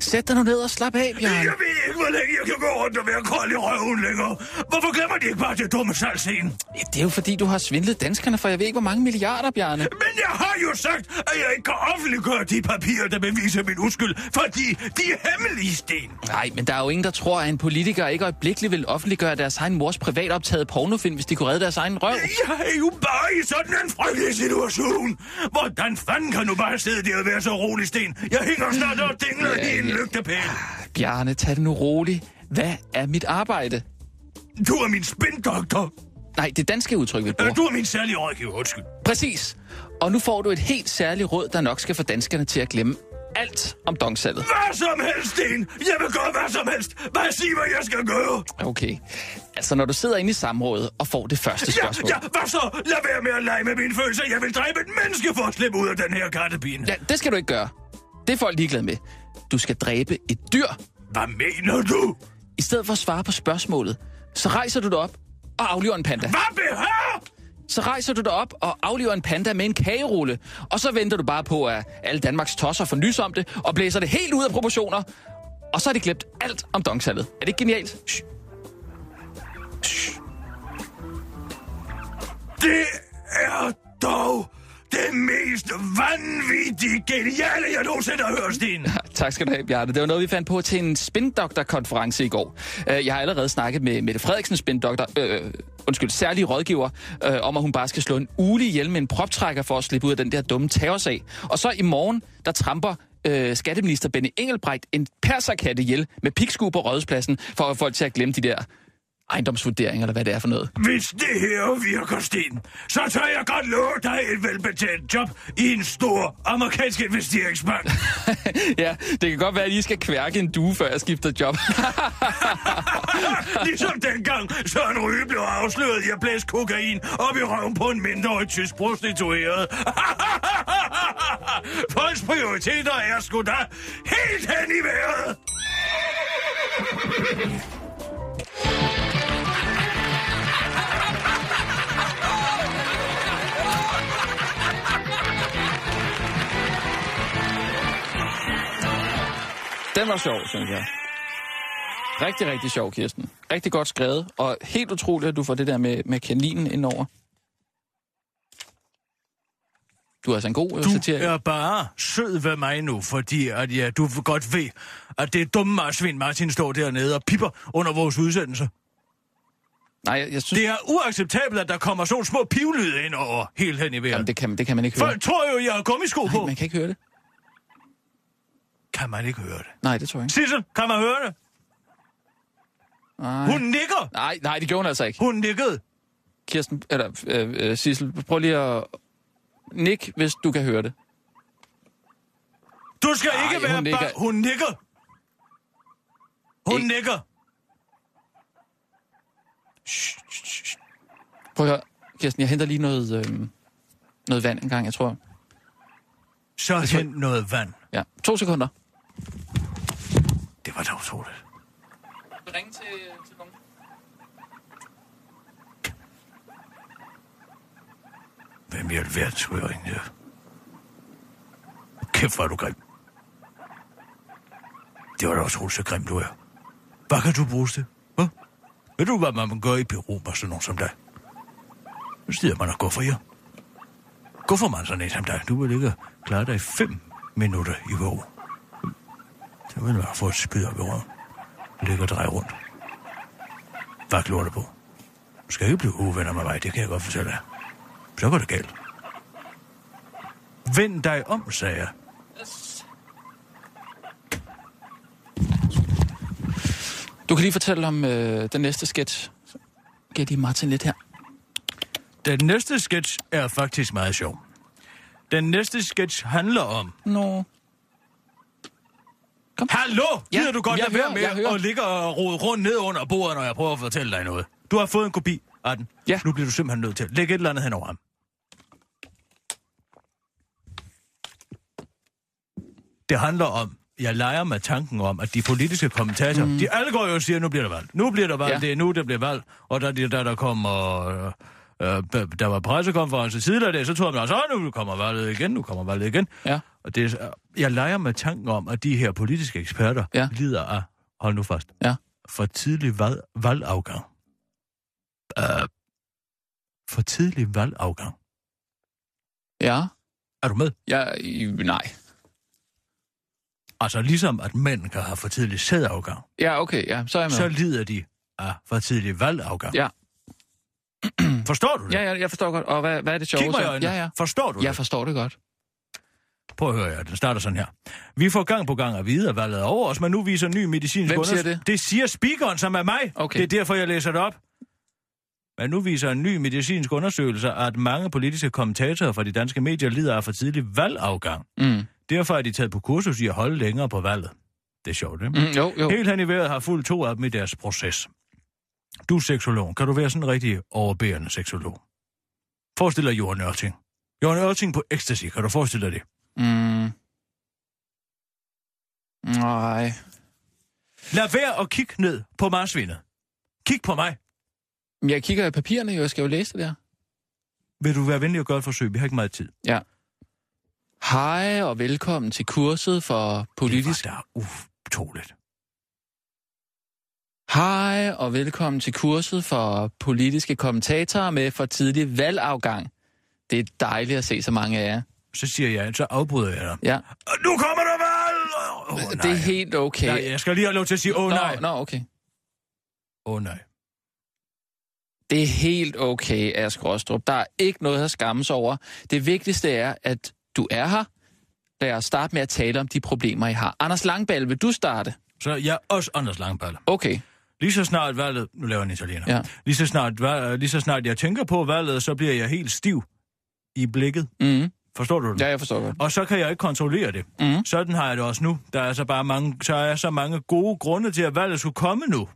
Sæt dig nu ned og slap af, Bjørn.
Jeg ved ikke, hvor længe jeg kan gå rundt og være kold i røven længere. Hvorfor glemmer de ikke bare det dumme salgscene?
Ja, det er jo fordi, du har svindlet danskerne for jeg ved ikke, hvor mange milliarder, Bjarne.
Men jeg har jo sagt, at jeg ikke kan offentliggøre de papirer, der beviser min uskyld, fordi de er hemmelige sten.
Nej, men der er jo ingen, der tror, at en politiker ikke øjeblikkeligt vil offentliggøre deres egen mors privatoptaget pornofilm, hvis de kunne redde deres egen røv.
Jeg er jo bare i sådan en frygtelig situation. Hvordan fanden kan du bare sidde der og være så rolig, Sten? Jeg hænger snart og dingler i en lygtepæl.
Bjarne, tag det nu roligt. Hvad er mit arbejde?
Du er min spindoktor.
Nej, det danske udtryk, vi bruger.
Øh, Du er min særlige rådgiver, undskyld.
Præcis. Og nu får du et helt særligt råd, der nok skal få danskerne til at glemme alt om dongsalget.
Hvad som helst, Sten. Jeg vil gøre hvad som helst. Bare sig, hvad jeg skal gøre.
Okay. Altså, når du sidder inde i samrådet og får det første
Ja,
spørgsmål.
ja, hvad så? Lad være med at lege med mine følelser. Jeg vil dræbe et menneske for at slippe ud af den her kattepine.
ja. det skal du ikke gøre. Det er folk ligeglade med. Du skal dræbe et dyr.
Hvad mener du?
I stedet for at svare på spørgsmålet, så rejser du dig op og afliver en panda.
Hvad behøver?
Så rejser du dig op og afliver en panda med en kagerulle. Og så venter du bare på, at alle Danmarks tosser får nys om det, og blæser det helt ud af proportioner. Og så har de glemt alt om dongsalget. Er det ikke genialt? Shh.
Det er dog det mest vanvittige geniale, jeg nogensinde har hørt, Sten.
Tak skal du have, Bjarne. Det var noget, vi fandt på til en spindokterkonference i går. Øh, Jeg har allerede snakket med Mette Frederiksen, spindokter, øh, undskyld, særlig rådgiver, øh, om at hun bare skal slå en ule ihjel med en proptrækker for at slippe ud af den der dumme terrorsag. Og så i morgen, der tramper øh, skatteminister Benny Engelbrecht en perserkatte ihjel med piksku på rådspladsen for at få folk til at glemme de der ejendomsvurderinger, eller hvad det er for noget.
Hvis det her virker, Sten, så tør jeg godt love dig et velbetalt job i en stor amerikansk investeringsbank.
ja, det kan godt være, at I skal kværke en due, før jeg skifter job.
ligesom dengang Søren Ryge blev afsløret i at blæse kokain op i røven på en mindreårig tysk prostitueret. Folks prioriteter er sgu da helt hen i vejret.
Den var sjov, synes jeg. Rigtig, rigtig sjov, Kirsten. Rigtig godt skrevet, og helt utroligt, at du får det der med, med kaninen indover. Du er altså en god du
Du
satiriker.
er bare sød ved mig nu, fordi at, ja, du godt ved, at det er dumme marsvin Martin står dernede og pipper under vores udsendelse.
Nej, jeg, jeg synes...
Det er uacceptabelt, at der kommer sådan små pivlyde ind over helt hen i vejret.
Jamen,
Jamen, det...
det, kan, det kan man ikke høre.
Folk tror jo, jeg har gummisko på.
Nej, man kan ikke høre det.
Kan man ikke høre det?
Nej, det tror jeg ikke.
Sissel, kan man høre det?
Nej.
Hun nikker.
Nej, nej, det gjorde hun altså ikke.
Hun nikkede.
Kirsten, eller øh, øh, Sissel, prøv lige at... Nick, hvis du kan høre det.
Du skal
Ej,
ikke være
hun nikker.
bange. Hun nikker. Hun
Ikke-
nikker.
Prøv at høre. Kirsten, jeg henter lige noget, øh, noget vand en gang, jeg tror.
Så hent noget vand.
Ja, to sekunder.
Det var da utroligt.
Ring til, øh, til
Hvem i alverden skulle jeg ringe her? Kæft, hvor er du grim. Det var da også så grim, du er. Hvad kan du bruges til? Hvad? Ved du, hvad man gør i Peru med sådan nogen som dig? Nu stiger man og går for jer. Gå for man sådan en som dig. Du vil ikke klare dig i fem minutter i Peru. Det vil være for et skyd op i røven. Ligge og dreje rundt. Hvad glor du på? Du skal ikke blive uvenner med mig, det kan jeg godt fortælle dig. Så var det galt. Vend dig om, sagde jeg.
Du kan lige fortælle om øh, den næste sketch. Giv lige Martin lidt her.
Den næste sketch er faktisk meget sjov. Den næste sketch handler om...
Nå.
Hallo!
Ja,
Ja, Gider du godt
jeg
lade være
hører, jeg
med
hører.
at ligge og rode rundt ned under bordet, når jeg prøver at fortælle dig noget? Du har fået en kopi af den.
Ja.
Nu bliver du simpelthen nødt til at lægge et eller andet hen over ham. Det handler om, jeg leger med tanken om, at de politiske kommentatorer, mm. de alle går jo og siger, nu bliver der valg. Nu bliver der valg,
Ja.
ja. det er nu, der bliver valg. Og da, de- da der kommer... Øh, øh, der var pressekonference tidligere i dag, så tror man altså, "Åh, nu kommer valget igen, nu kommer valget igen.
Ja.
Og det, er- øh, jeg leger med tanken om, at de her politiske eksperter
Ja.
ja. lider af, hold nu fast,
Ja.
for tidlig valg, valgafgang. Øh, for tidlig valgafgang.
Ja.
Er du med?
ja i- nej.
Altså ligesom at mænd kan have for tidlig sædafgang,
Ja, okay. Ja, så er jeg med.
så lider de af for tidlig valgafgang.
Ja.
Forstår du det?
Ja, ja, jeg forstår godt. Og hvad, hvad er det sjove?
Kig mig i
så?
øjnene.
Ja, ja.
Forstår du
Jeg
det?
forstår det godt.
Prøv at høre, ja. den starter sådan her. Vi får gang på gang at vide, at valget er over os, men nu viser ny medicinsk
Hvem siger
unders-
det?
Det siger speakeren, som er mig.
Okay.
Det er derfor, jeg læser det op. Men nu viser en ny medicinsk undersøgelse, at mange politiske kommentatorer fra de danske medier lider af for tidlig valgafgang.
Mm.
Derfor er de taget på kursus i at holde længere på valget. Det er sjovt, ikke?
Mm, jo, jo.
Helt hen i vejret har fuldt to af dem i deres proces. Du er seksolog. Kan du være sådan en rigtig overbærende seksolog? Forestil dig Johan Ørting. Johan Ørting på ecstasy. Kan du forestille dig det?
Mm. Nej.
Lad være at kigge ned på marsvinet. Kig på mig.
Men Jeg kigger i papirerne jo, jeg skal jo læse det der.
Vil du være venlig at gøre et forsøg? Vi har ikke meget tid.
Ja. Hej og velkommen til kurset for politisk...
Det var da utroligt.
Hej og velkommen til kurset for politiske kommentatorer med for tidlig valgafgang. Det er dejligt at se så mange af jer.
Så siger jeg, så afbryder jeg dig.
Ja,
Og nu kommer der valg! Åh, nej.
det er helt okay.
Nej, jeg skal lige have lov til at sige, åh oh, nej. Åh
Nå, nå, okay.
oh, nej.
Det er helt okay, Ask Rostrup. Der er ikke noget at skamme sig over. Det vigtigste er, at du er her. Lad os starte med at tale om de problemer, I har. Anders Langballe, vil du starte?
Så jeg er også Anders Langballe.
Okay.
Lige så snart valget... Nu laver jeg en italiener.
Ja.
Lige, så snart, valg, lige så snart jeg tænker på valget, så bliver jeg helt stiv i blikket.
Mm.
Forstår du det?
Ja, jeg forstår godt.
Og så kan jeg ikke kontrollere det.
Mhm.
Sådan har jeg det også nu. Der er så bare mange, så er så mange gode grunde til, at valget skulle komme nu.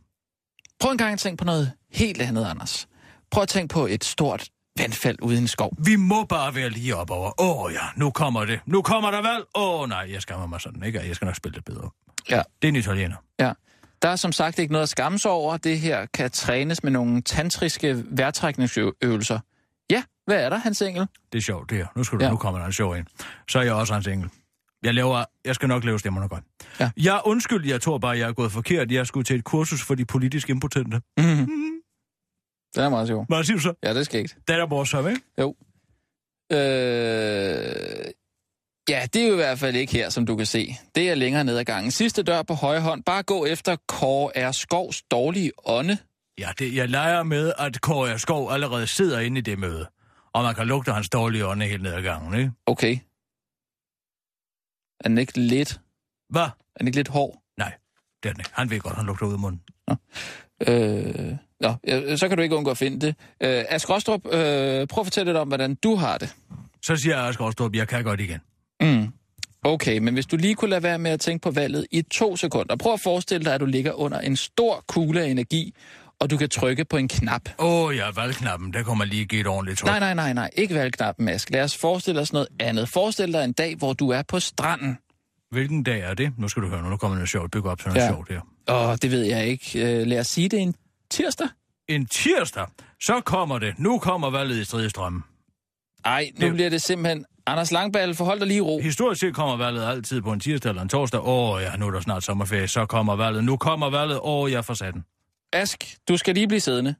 Prøv en gang at tænke på noget helt andet, Anders. Prøv at tænke på et stort vandfald uden skov.
Vi må bare være lige op over. Åh ja, nu kommer det. Nu kommer der valg. Åh nej, jeg skammer mig sådan ikke. og Jeg skal nok spille det bedre.
Ja.
Det er en italiener.
Ja. Der er som sagt ikke noget at skamme sig over. Det her kan trænes med nogle tantriske vejrtrækningsøvelser. Ja, hvad er der, Hans Engel?
Det er sjovt, det her. Nu, skal du,
Ja.
ja. nu kommer der en sjov ind. Så er jeg også hans engel. Jeg, laver, jeg skal nok lave stemmerne godt.
Ja.
Jeg undskyld, jeg tror bare, jeg er gået forkert. Jeg skulle til et kursus for de politisk impotente.
Mm-hmm. Den er meget sjov.
Hvad siger du så?
Ja, det skal ikke.
Det er da morsomt, ikke?
Øh... Ja, det er jo i hvert fald ikke her, som du kan se. Det er længere ned ad gangen. Sidste dør på højre hånd. Bare gå efter Kåre R. Skovs dårlige ånde.
Ja, det, jeg leger med, at Kåre Skov allerede sidder inde i det møde. Og man kan lugte hans dårlige ånde helt ned ad gangen, ikke?
Okay. Er den ikke lidt,
Hvad?
er den ikke lidt hård?
Nej, det er den ikke. Han ved godt, han lugter ud af munden.
Øh... Nå, øh, så kan du ikke undgå at finde det. Øh, Ask Rostrup, øh, prøv at fortælle lidt om, hvordan du har det.
Så siger jeg også Storb, jeg kan godt igen.
Mm. Okay, men hvis du lige kunne lade være med at tænke på valget i to sekunder. Prøv at forestille dig, at du ligger under en stor kugle af energi, og du kan trykke på en knap.
Åh, oh, ja, valgknappen, der kommer lige give et ordentligt tryk.
Nej, nej, nej, nej. Ikke valgknappen, Ask. Lad os forestille os noget andet. Forestil dig en dag, hvor du er på stranden.
Hvilken dag er det? Nu skal du høre, nu, nu kommer noget sjovt. Byg op til noget
Ja.
ja. sjovt her.
Åh, det ved jeg ikke. Øh, Lad os sige det er en tirsdag.
En tirsdag, så kommer det. Nu kommer valget i stridestrømmen.
Nej, nu
Det-
bliver det simpelthen... Anders Langballe, forhold dig lige i ro.
Historisk set kommer valget altid på en tirsdag eller en torsdag. Åh oh, ja, nu er der snart sommerferie, så kommer valget. Nu kommer valget. Åh, oh, jeg får sat den.
Ask, du skal lige blive siddende.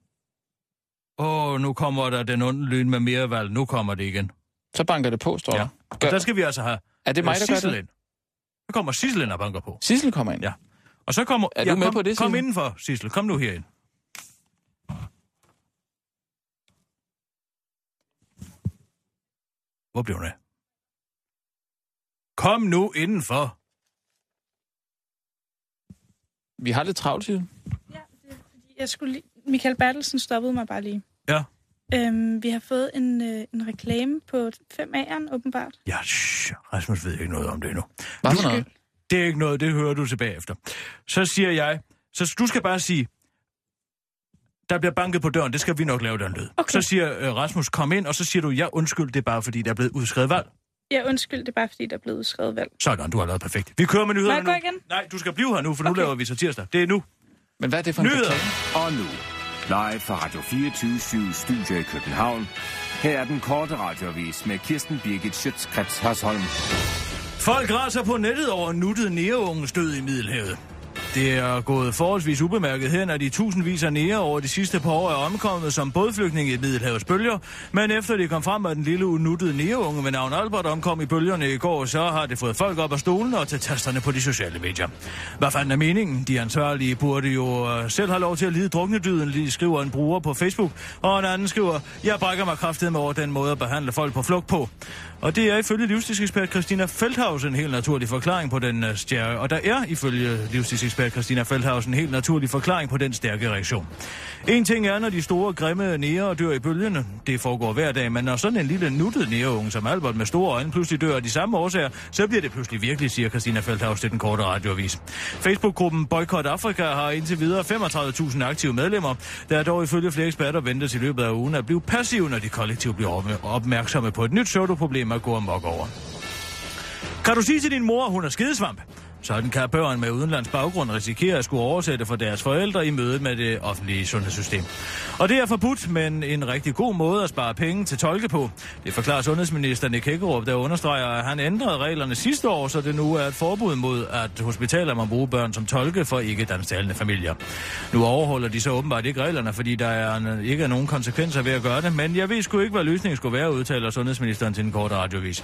Åh, oh, nu kommer der den onde lyn med mere valg. Nu kommer det igen.
Så banker det på, står
Ja.
der.
Og
Gør-
der skal vi altså have
Er det mig,
øh,
der gør
Sissel
det?
ind. Så kommer Sissel ind og banker på.
Sissel kommer ind.
Ja. Og så kommer...
Er du med
kom,
på det,
Kom
Sissel?
indenfor, Sissel. Kom nu herind. Hvor blev hun af? Kom nu indenfor.
Vi har lidt travlt, Sissel.
Jeg skulle lige... Michael Bertelsen stoppede mig bare lige.
Ja.
Øhm, vi har fået en, øh, en reklame på 5A'eren, åbenbart.
Ja, shh, Rasmus ved ikke noget om det endnu.
Hvad for
Du
noget?
Det er ikke noget, det hører du tilbage efter. Så siger jeg, så du skal bare sige, der bliver banket på døren, det skal vi nok lave den lyd.
Okay.
Så siger øh, Rasmus, kom ind, og så siger du, ja undskyld, det er bare fordi, der er blevet udskrevet valg.
Ja, undskyld, det er bare fordi, der er blevet udskrevet valg.
Sådan, du har lavet perfekt. Vi kører med
Må
nyhederne
jeg gå
nu.
igen?
Nej, du skal blive her nu, for nu
Okay.
laver vi så tirsdag. Det er nu.
Men hvad er det for en
Nyheder.
reklame?
Og nu, live fra Radio 24 Studio i København. Her er den korte radiovis med Kirsten Birgit Schøtzgrads Hasholm.
Folk raser på nettet over nuttet næreungens død i Middelhavet. Det er gået forholdsvis ubemærket hen, at de tusindvis af nære over de sidste par år er omkommet som bådflygtninge i Middelhavets bølger. Men efter det kom frem, at den lille unuttede næreunge ved navn Albert omkom i bølgerne i går, så har det fået folk op af stolen og til tasterne på de sociale medier. Hvad fanden er meningen? De ansvarlige burde jo øh, selv have lov til at lide druknedyden, lige skriver en bruger på Facebook. Og en anden skriver, jeg brækker mig kraftedeme over den måde at behandle folk på flugt på. Og det er ifølge livsstilsekspert Christina Feldhaus en helt naturlig forklaring på den øh, stærke... Og der er ifølge livsstilsekspert Christina Feldhaus en helt naturlig forklaring på den stærke reaktion. En ting er, når de store, grimme nære dør i bølgerne. Det foregår hver dag, men når sådan en lille nuttet næreunge som Albert med store øjne pludselig dør af de samme årsager, så bliver det pludselig virkelig, siger Christina Feldhaus til den korte radioavis. Facebook-gruppen Boycott Afrika har indtil videre 35.000 aktive medlemmer. Der er dog ifølge flere eksperter ventes i løbet af ugen at blive passive, når de kollektivt bliver opmær- opmærksomme på et nyt pseudoproblem at gå amok over. Kan du sige til din mor, at hun er skidesvamp? Sådan kan børn med udenlands baggrund risikere at skulle oversætte for deres forældre i mødet med det offentlige sundhedssystem. Og det er forbudt, men en rigtig god måde at spare penge til tolke på. Det forklarer sundhedsminister Nick Hækkerup, der understreger, at han ændrede reglerne sidste år, så det nu er et forbud mod, at hospitaler må bruge børn som tolke for ikke dansktalende familier. Nu overholder de så åbenbart ikke reglerne, fordi der er en, ikke er nogen konsekvenser ved at gøre det, men jeg ved sgu ikke, hvad løsningen skulle være, udtaler sundhedsministeren til en kort radiovis.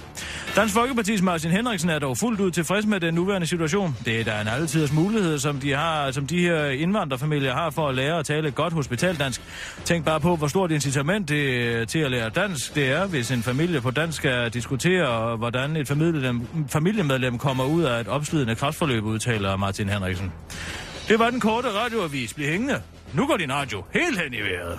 Dansk Folkeparti's Martin Henriksen er dog fuldt ud tilfreds med den nuværende situation. Det er da en altiders mulighed, som de, har, som de her indvandrerfamilier har for at lære at tale et godt hospitaldansk. Tænk bare på, hvor stort incitament det, øh, til at lære dansk det er, hvis en familie på dansk skal diskutere, hvordan et familiemedlem, familiemedlem kommer ud af et opslidende kræftforløb, udtaler Martin Henriksen. Det var den korte radioavis. Bliv hængende. Nu går din radio helt hen i vejret.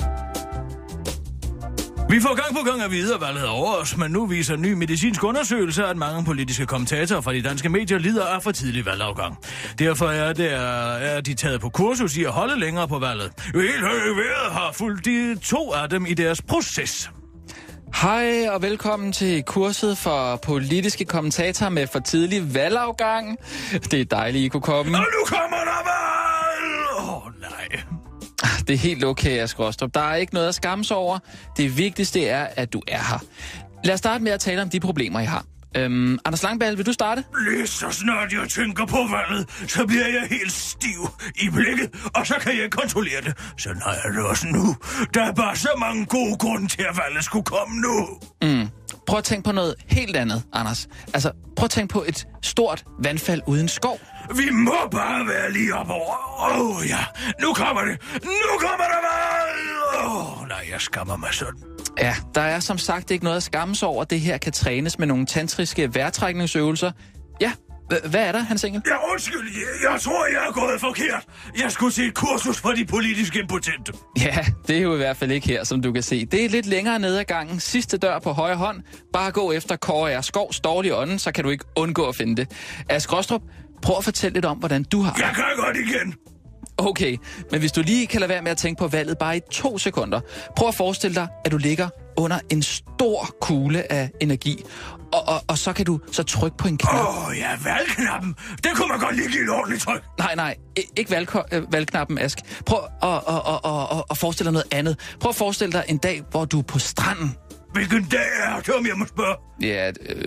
Vi får gang på gang at vide, hvad der hedder over os, men nu viser en ny medicinsk undersøgelse, at mange politiske kommentatorer fra de danske medier lider af for tidlig valgafgang. Derfor er, det, er de taget på kursus i at holde længere på valget. Helt højt vejret har fulgt de to af dem i deres proces.
Hej og velkommen til kurset for politiske kommentatorer med for tidlig valgafgang. Det er dejligt, I kunne komme.
Og nu kommer der valg! Åh oh, nej.
Det er helt okay, Asger Rostrup. Der er ikke noget at skamme sig over. Det vigtigste er, at du er her. Lad os starte med at tale om de problemer, I har. Øhm, Anders Langballe, vil du starte?
Lige så snart jeg tænker på valget, så bliver jeg helt stiv i blikket, og så kan jeg ikke kontrollere det. Sådan har jeg det også nu. Der er bare så mange gode grunde til, at valget skulle komme nu.
Prøv at tænke på noget helt andet, Anders. Altså, prøv at tænke på et stort vandfald uden skov.
Vi må bare være lige op over. Åh oh, ja, nu kommer det. Nu kommer der valg. Åh oh, nej, jeg skammer mig sådan.
Ja, der er som sagt ikke noget at skamme sig over. Det her kan trænes med nogle tantriske vejrtrækningsøvelser. Ja, h- hvad er der, Hans Engel?
Ja, undskyld, jeg, jeg tror, jeg er gået forkert. Jeg skulle se et kursus for de politiske impotente.
Ja, det er jo i hvert fald ikke her, som du kan se. Det er lidt længere ned ad gangen. Sidste dør på højre hånd. Bare gå efter Kåre R. Skovs dårlige ånden, så kan du ikke undgå at finde det. Ask Rostrup, prøv at fortælle lidt om, hvordan du har det.
Jeg kan godt igen.
Okay, men hvis du lige kan lade være med at tænke på valget bare i to sekunder, prøv at forestille dig, at du ligger under en stor kugle af energi, og, og, og så kan du så trykke på en knap.
Åh oh, ja, valgknappen. Det kunne man godt lige give et ordentligt tryk.
Nej, nej, i- ikke valgko- øh, valgknappen, Ask. Prøv at, at, at, at, at forestille dig noget andet. Prøv at forestille dig en dag, hvor du er på stranden.
Hvilken dag er det, om jeg må spørge?
Ja, øh,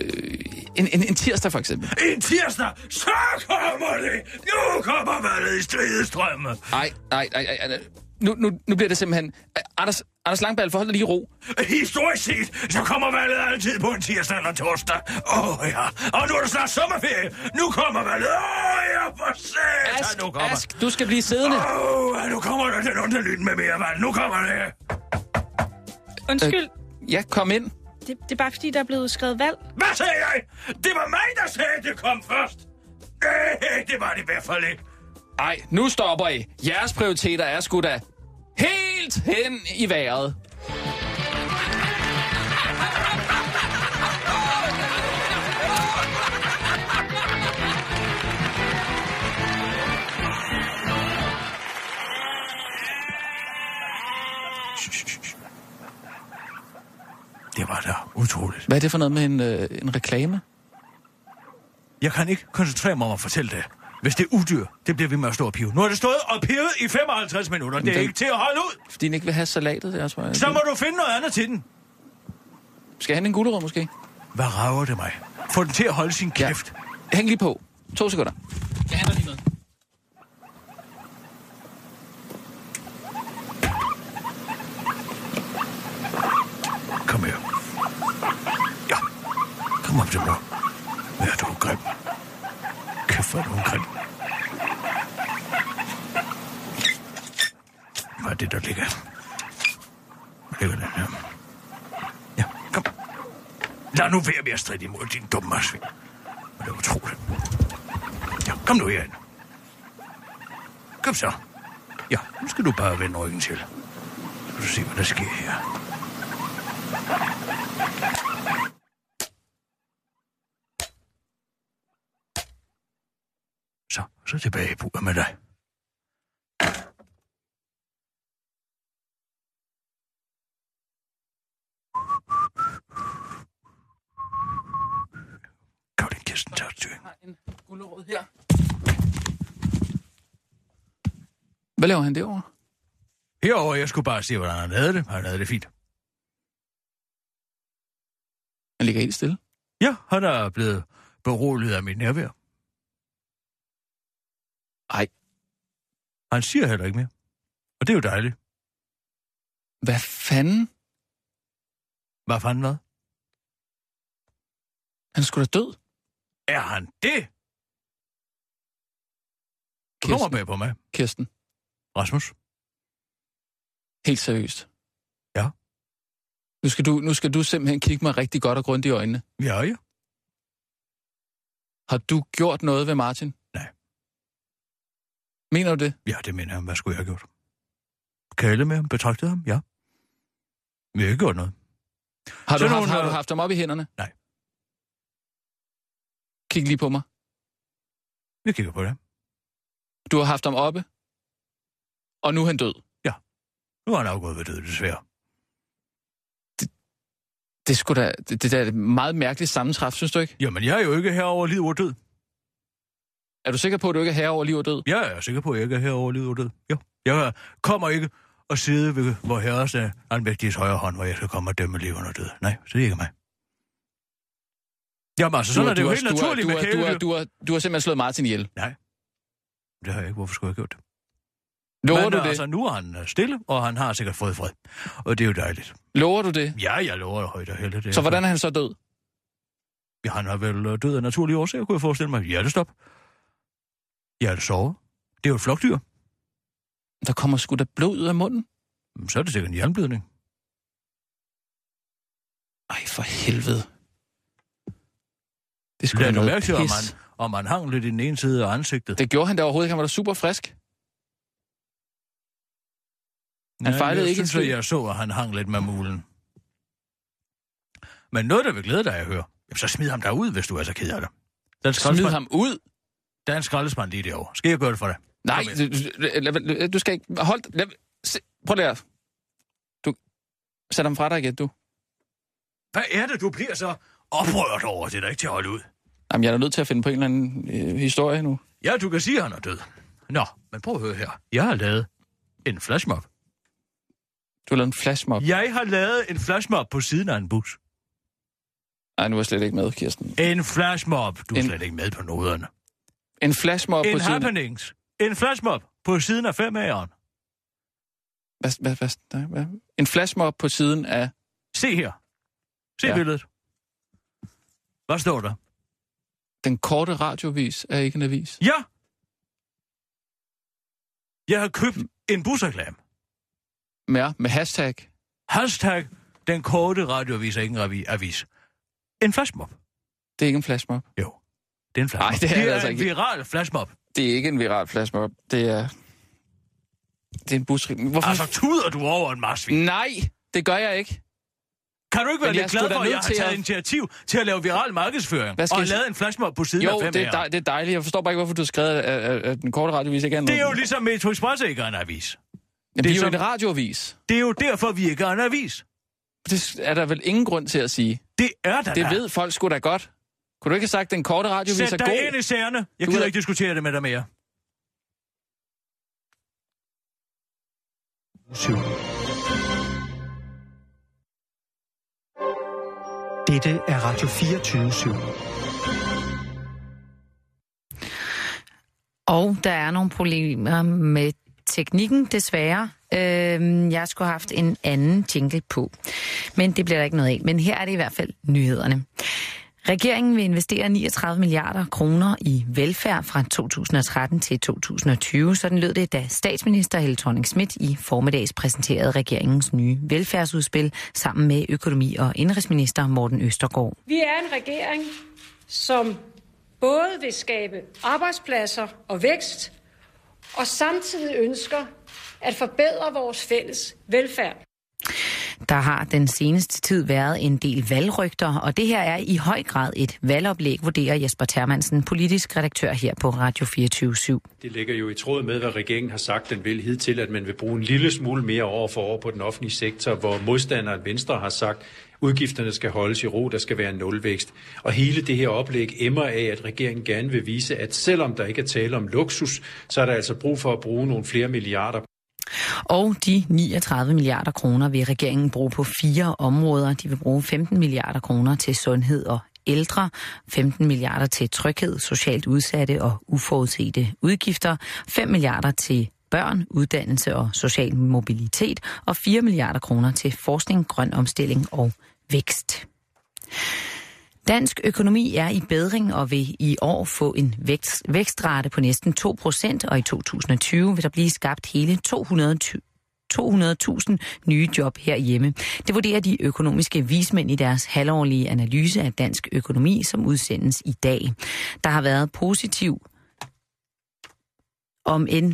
en, en, en tirsdag for eksempel.
En tirsdag, så kommer det! Nu kommer valget i stridestrømme!
Nej, nej, nej, nej, nej. Nu, nu, nu bliver det simpelthen... Øh, Anders, Anders Langballe, forhold dig lige i ro.
Historisk set, så kommer valget altid på en tirsdag eller torsdag. Åh oh, ja, og nu er det snart sommerferie. Nu kommer valget. Åh oh, ja, for satan,
Ask,
nu kommer.
Ask, du skal blive siddende.
Åh, oh, nu kommer der den onde lyd med mere vand. Nu kommer det. Øh.
Undskyld,
Ja, kom ind.
Det, det er bare fordi, der er blevet udskrevet valg.
Hvad sagde jeg? Det var mig, der sagde, at det kom først. Øh, det var det i hvert fald ikke.
Ej, nu stopper I. Jeres prioriteter er sgu da helt hen i vejret.
Det var da utroligt.
Hvad er det for noget med en, øh, en reklame?
Jeg kan ikke koncentrere mig om at fortælle det. Hvis det er udyr, det bliver vi med at stå og pive. Nu har det stået og pivet i 55 minutter. Det er
den-
ikke til at holde ud.
Fordi den ikke vil have salatet der, tror jeg.
Så må du finde noget andet til den.
Skal han en gulerod måske?
Hvad rager det mig? Få den til at holde sin kæft. Ja.
Hæng lige på. To sekunder. Jeg handler lige noget.
Kom her. Ja. Kom op til mig. Hvad er du grim? Kæft, hvor er du grim. Hvad er det, der ligger? Hvor ligger den her? Ja, kom. Lad nu være med at stride imod din dumme marsvin. Det er utroligt. Ja, kom nu herind. Kom så. Ja, nu skal du bare vende ryggen til. Så skal du se, hvad der sker her. Så, så tilbage i buret med dig. Kom din kisten, tager styring.
en gulerod her. Hvad laver han derovre?
Herover, jeg skulle bare se, hvordan han havde det. Han havde det fint.
Han ligger helt stille.
Ja, han er blevet beroliget af mit nærvær.
Ej.
Han siger heller ikke mere. Og det er jo dejligt.
Hvad fanden?
Hvad fanden hvad?
Han er sgu da død.
Er han det? Du kommer
Kirsten,
bag på mig,
Kirsten.
Rasmus.
Helt seriøst.
Ja.
Nu skal, du, nu skal du simpelthen kigge mig rigtig godt og grundigt i øjnene.
Ja, ja.
Har du gjort noget ved Martin?
Nej.
Mener du det?
Ja, det mener jeg. Hvad skulle jeg have gjort? Kæle med ham, betragtede ham, ja. Men jeg har ikke gjort noget.
Har du,
Sådan
haft,
nogle,
har du
øh,
haft ham op i hænderne?
Nej.
Kig lige på mig.
Jeg kigger på det.
Du har haft ham oppe, og nu er han død.
Nu er han afgået ved død, desværre.
Det skulle da, det, det der er et meget mærkeligt sammentræf, synes du ikke?
Jamen, jeg er jo ikke herover liv og død.
Er du sikker på, at du ikke er herre over liv og død?
Jeg er sikker på, at jeg ikke er herover liv og død. Jo. Jeg kommer ikke og sidde ved vor herres øh, almægtiges højre hånd, hvor jeg skal komme og dømme levende og død. Nej, så det er ikke mig. Jamen, altså, sådan er det jo helt
du, har-
naturligt
du,
med
har- du, har-
kæledyr.
du, har- du har simpelthen slået Martin ihjel.
Det har jeg ikke. Hvorfor skulle jeg have gjort det?
Lover
Men,
du
øh,
det?
altså, nu er han øh, stille, og han har sikkert fået fred. Og det er jo dejligt.
Lover du det?
Ja, jeg lover jo højt og heldigt. det er
Så
jeg
hvordan er han så død?
Ja, han er vel øh, død af naturlige årsager, kunne jeg forestille mig. Hjertestop. Hjertesover. Det er jo et flokdyr.
Der kommer sgu da blod ud af munden.
Men Så er det sikkert en jernblødning.
Ej, for helvede. Det skulle
Lad
da
du
noget
mærke til, om
pis.
man, om man hang lidt i den ene side af ansigtet.
Det gjorde han da overhovedet ikke. Han var da super frisk. han
Ja,
fejlede
jeg
ikke en
synes, at
skid.
jeg så, at han hang lidt med mulen. Men noget, der vil glæde dig at høre, jamen, så smid ham derud, hvis du er så ked af det. Der er en
Smid
skraldespand,
ham ud.
der er en skraldespand lige derovre. Skal jeg gøre det for dig?
Nej,
Kom
du, du- lad- lad- du skal ikke... Hold... Lad, se, prøv lige at... Du... Sæt ham fra dig igen, du.
Hvad er det, du bliver så oprørt over? Det er da ikke til at holde ud.
Jamen, jeg er da nødt til at finde på en eller anden øh, historie nu.
Ja, du kan sige, at han er død. Nå, men prøv at høre her. Jeg har lavet en flashmob.
Du har lavet en flashmob.
Jeg har lavet en flashmob på siden af en bus.
Nej, nu er jeg slet ikke med, Kirsten.
En flashmob. Du er
En-
slet ikke med på noderne.
En flashmob på
En
siden...
happenings. En flashmob på siden af femageren.
Hvad, hvad, hvad, nej, hvad? En flashmob på siden af...
Se her. Se
Ja.
ja. billedet. Hvad står der?
Den korte radiovis er ikke en avis.
Ja! Jeg har købt en busreklame.
Med, med hashtag.
Hashtag Den korte radioavis er ikke en ravi- avis. En flashmob.
Det er ikke en flashmob.
Jo, det er en flashmob.
Nej, det er det
det er
altså
en
ikke.
viral flashmob.
Det er ikke en viral flashmob. Det er... Det er en busribning. Hvorfor?
Altså, tuder du over en marsvin?
Nej, det gør jeg ikke.
Kan du ikke være
Mm. Men jeg
lidt glad
skulle da
for, at jeg
nødt
har
til
taget
at-
initiativ til at lave viral markedsføring?
Hvad skal
og
jeg-
lavet en flashmob på siden
Jo,
af fem
det er, dej, det er dejligt. Jeg forstår bare ikke, hvorfor du har skrevet, at, at, at den korte radiovis ikke er en...
det er jo ligesom Metro Express ikke er en avis.
Jamen, det er jo
som-
en radioavis.
Det er jo derfor, vi ikke er en avis.
Det er der vel ingen grund til at sige.
Det er der
Det
da.
ved folk sgu da godt. Kunne du ikke have sagt, at den korte radiovis er
Sæt dig
god?
ind i sagerne. Jeg
Du
gider
er-
ikke diskutere det med dig mere.
7. Dette er Radio 24 7.
Og der er nogle problemer med teknikken, desværre. Øhm, jeg skulle have haft en anden jingle på, men det bliver der ikke noget af. Men her er det i hvert fald nyhederne. Regeringen vil investere 39 milliarder kroner i velfærd fra 2013 til 2020. Sådan lød det, da statsminister Helle thorning Schmidt i formiddags præsenterede regeringens nye velfærdsudspil sammen med økonomi- og indrigsminister Morten Østergaard.
Vi er en regering, som både vil skabe arbejdspladser og vækst, og samtidig ønsker at forbedre vores fælles velfærd.
Der har den seneste tid været en del valgrygter, og det her er i høj grad et valgoplæg, vurderer Jesper Termansen, politisk redaktør her på Radio 24 7
Det ligger jo i tråd med, hvad regeringen har sagt, den vil hidtil, at man vil bruge en lille smule mere år for år på den offentlige sektor, hvor modstanderen Venstre har sagt, udgifterne skal holdes i ro, der skal være en nulvækst. Og hele det her oplæg emmer af, at regeringen gerne vil vise, at selvom der ikke er tale om luksus, så er der altså brug for at bruge nogle flere milliarder
Og de 39 milliarder kroner vil regeringen bruge på fire områder. De vil bruge 15 milliarder kroner til sundhed og ældre, 15 milliarder til tryghed, socialt udsatte og uforudsete udgifter, 5 milliarder til børn, uddannelse og social mobilitet, og 4 milliarder kroner til forskning, grøn omstilling og vækst. Dansk økonomi er i bedring og vil i år få en vækst, vækstrate på næsten 2 procent, og i 2020 vil der blive skabt hele 220 200.000 nye job herhjemme. Det vurderer de økonomiske vismænd i deres halvårlige analyse af dansk økonomi, som udsendes i dag. Der har været positiv om end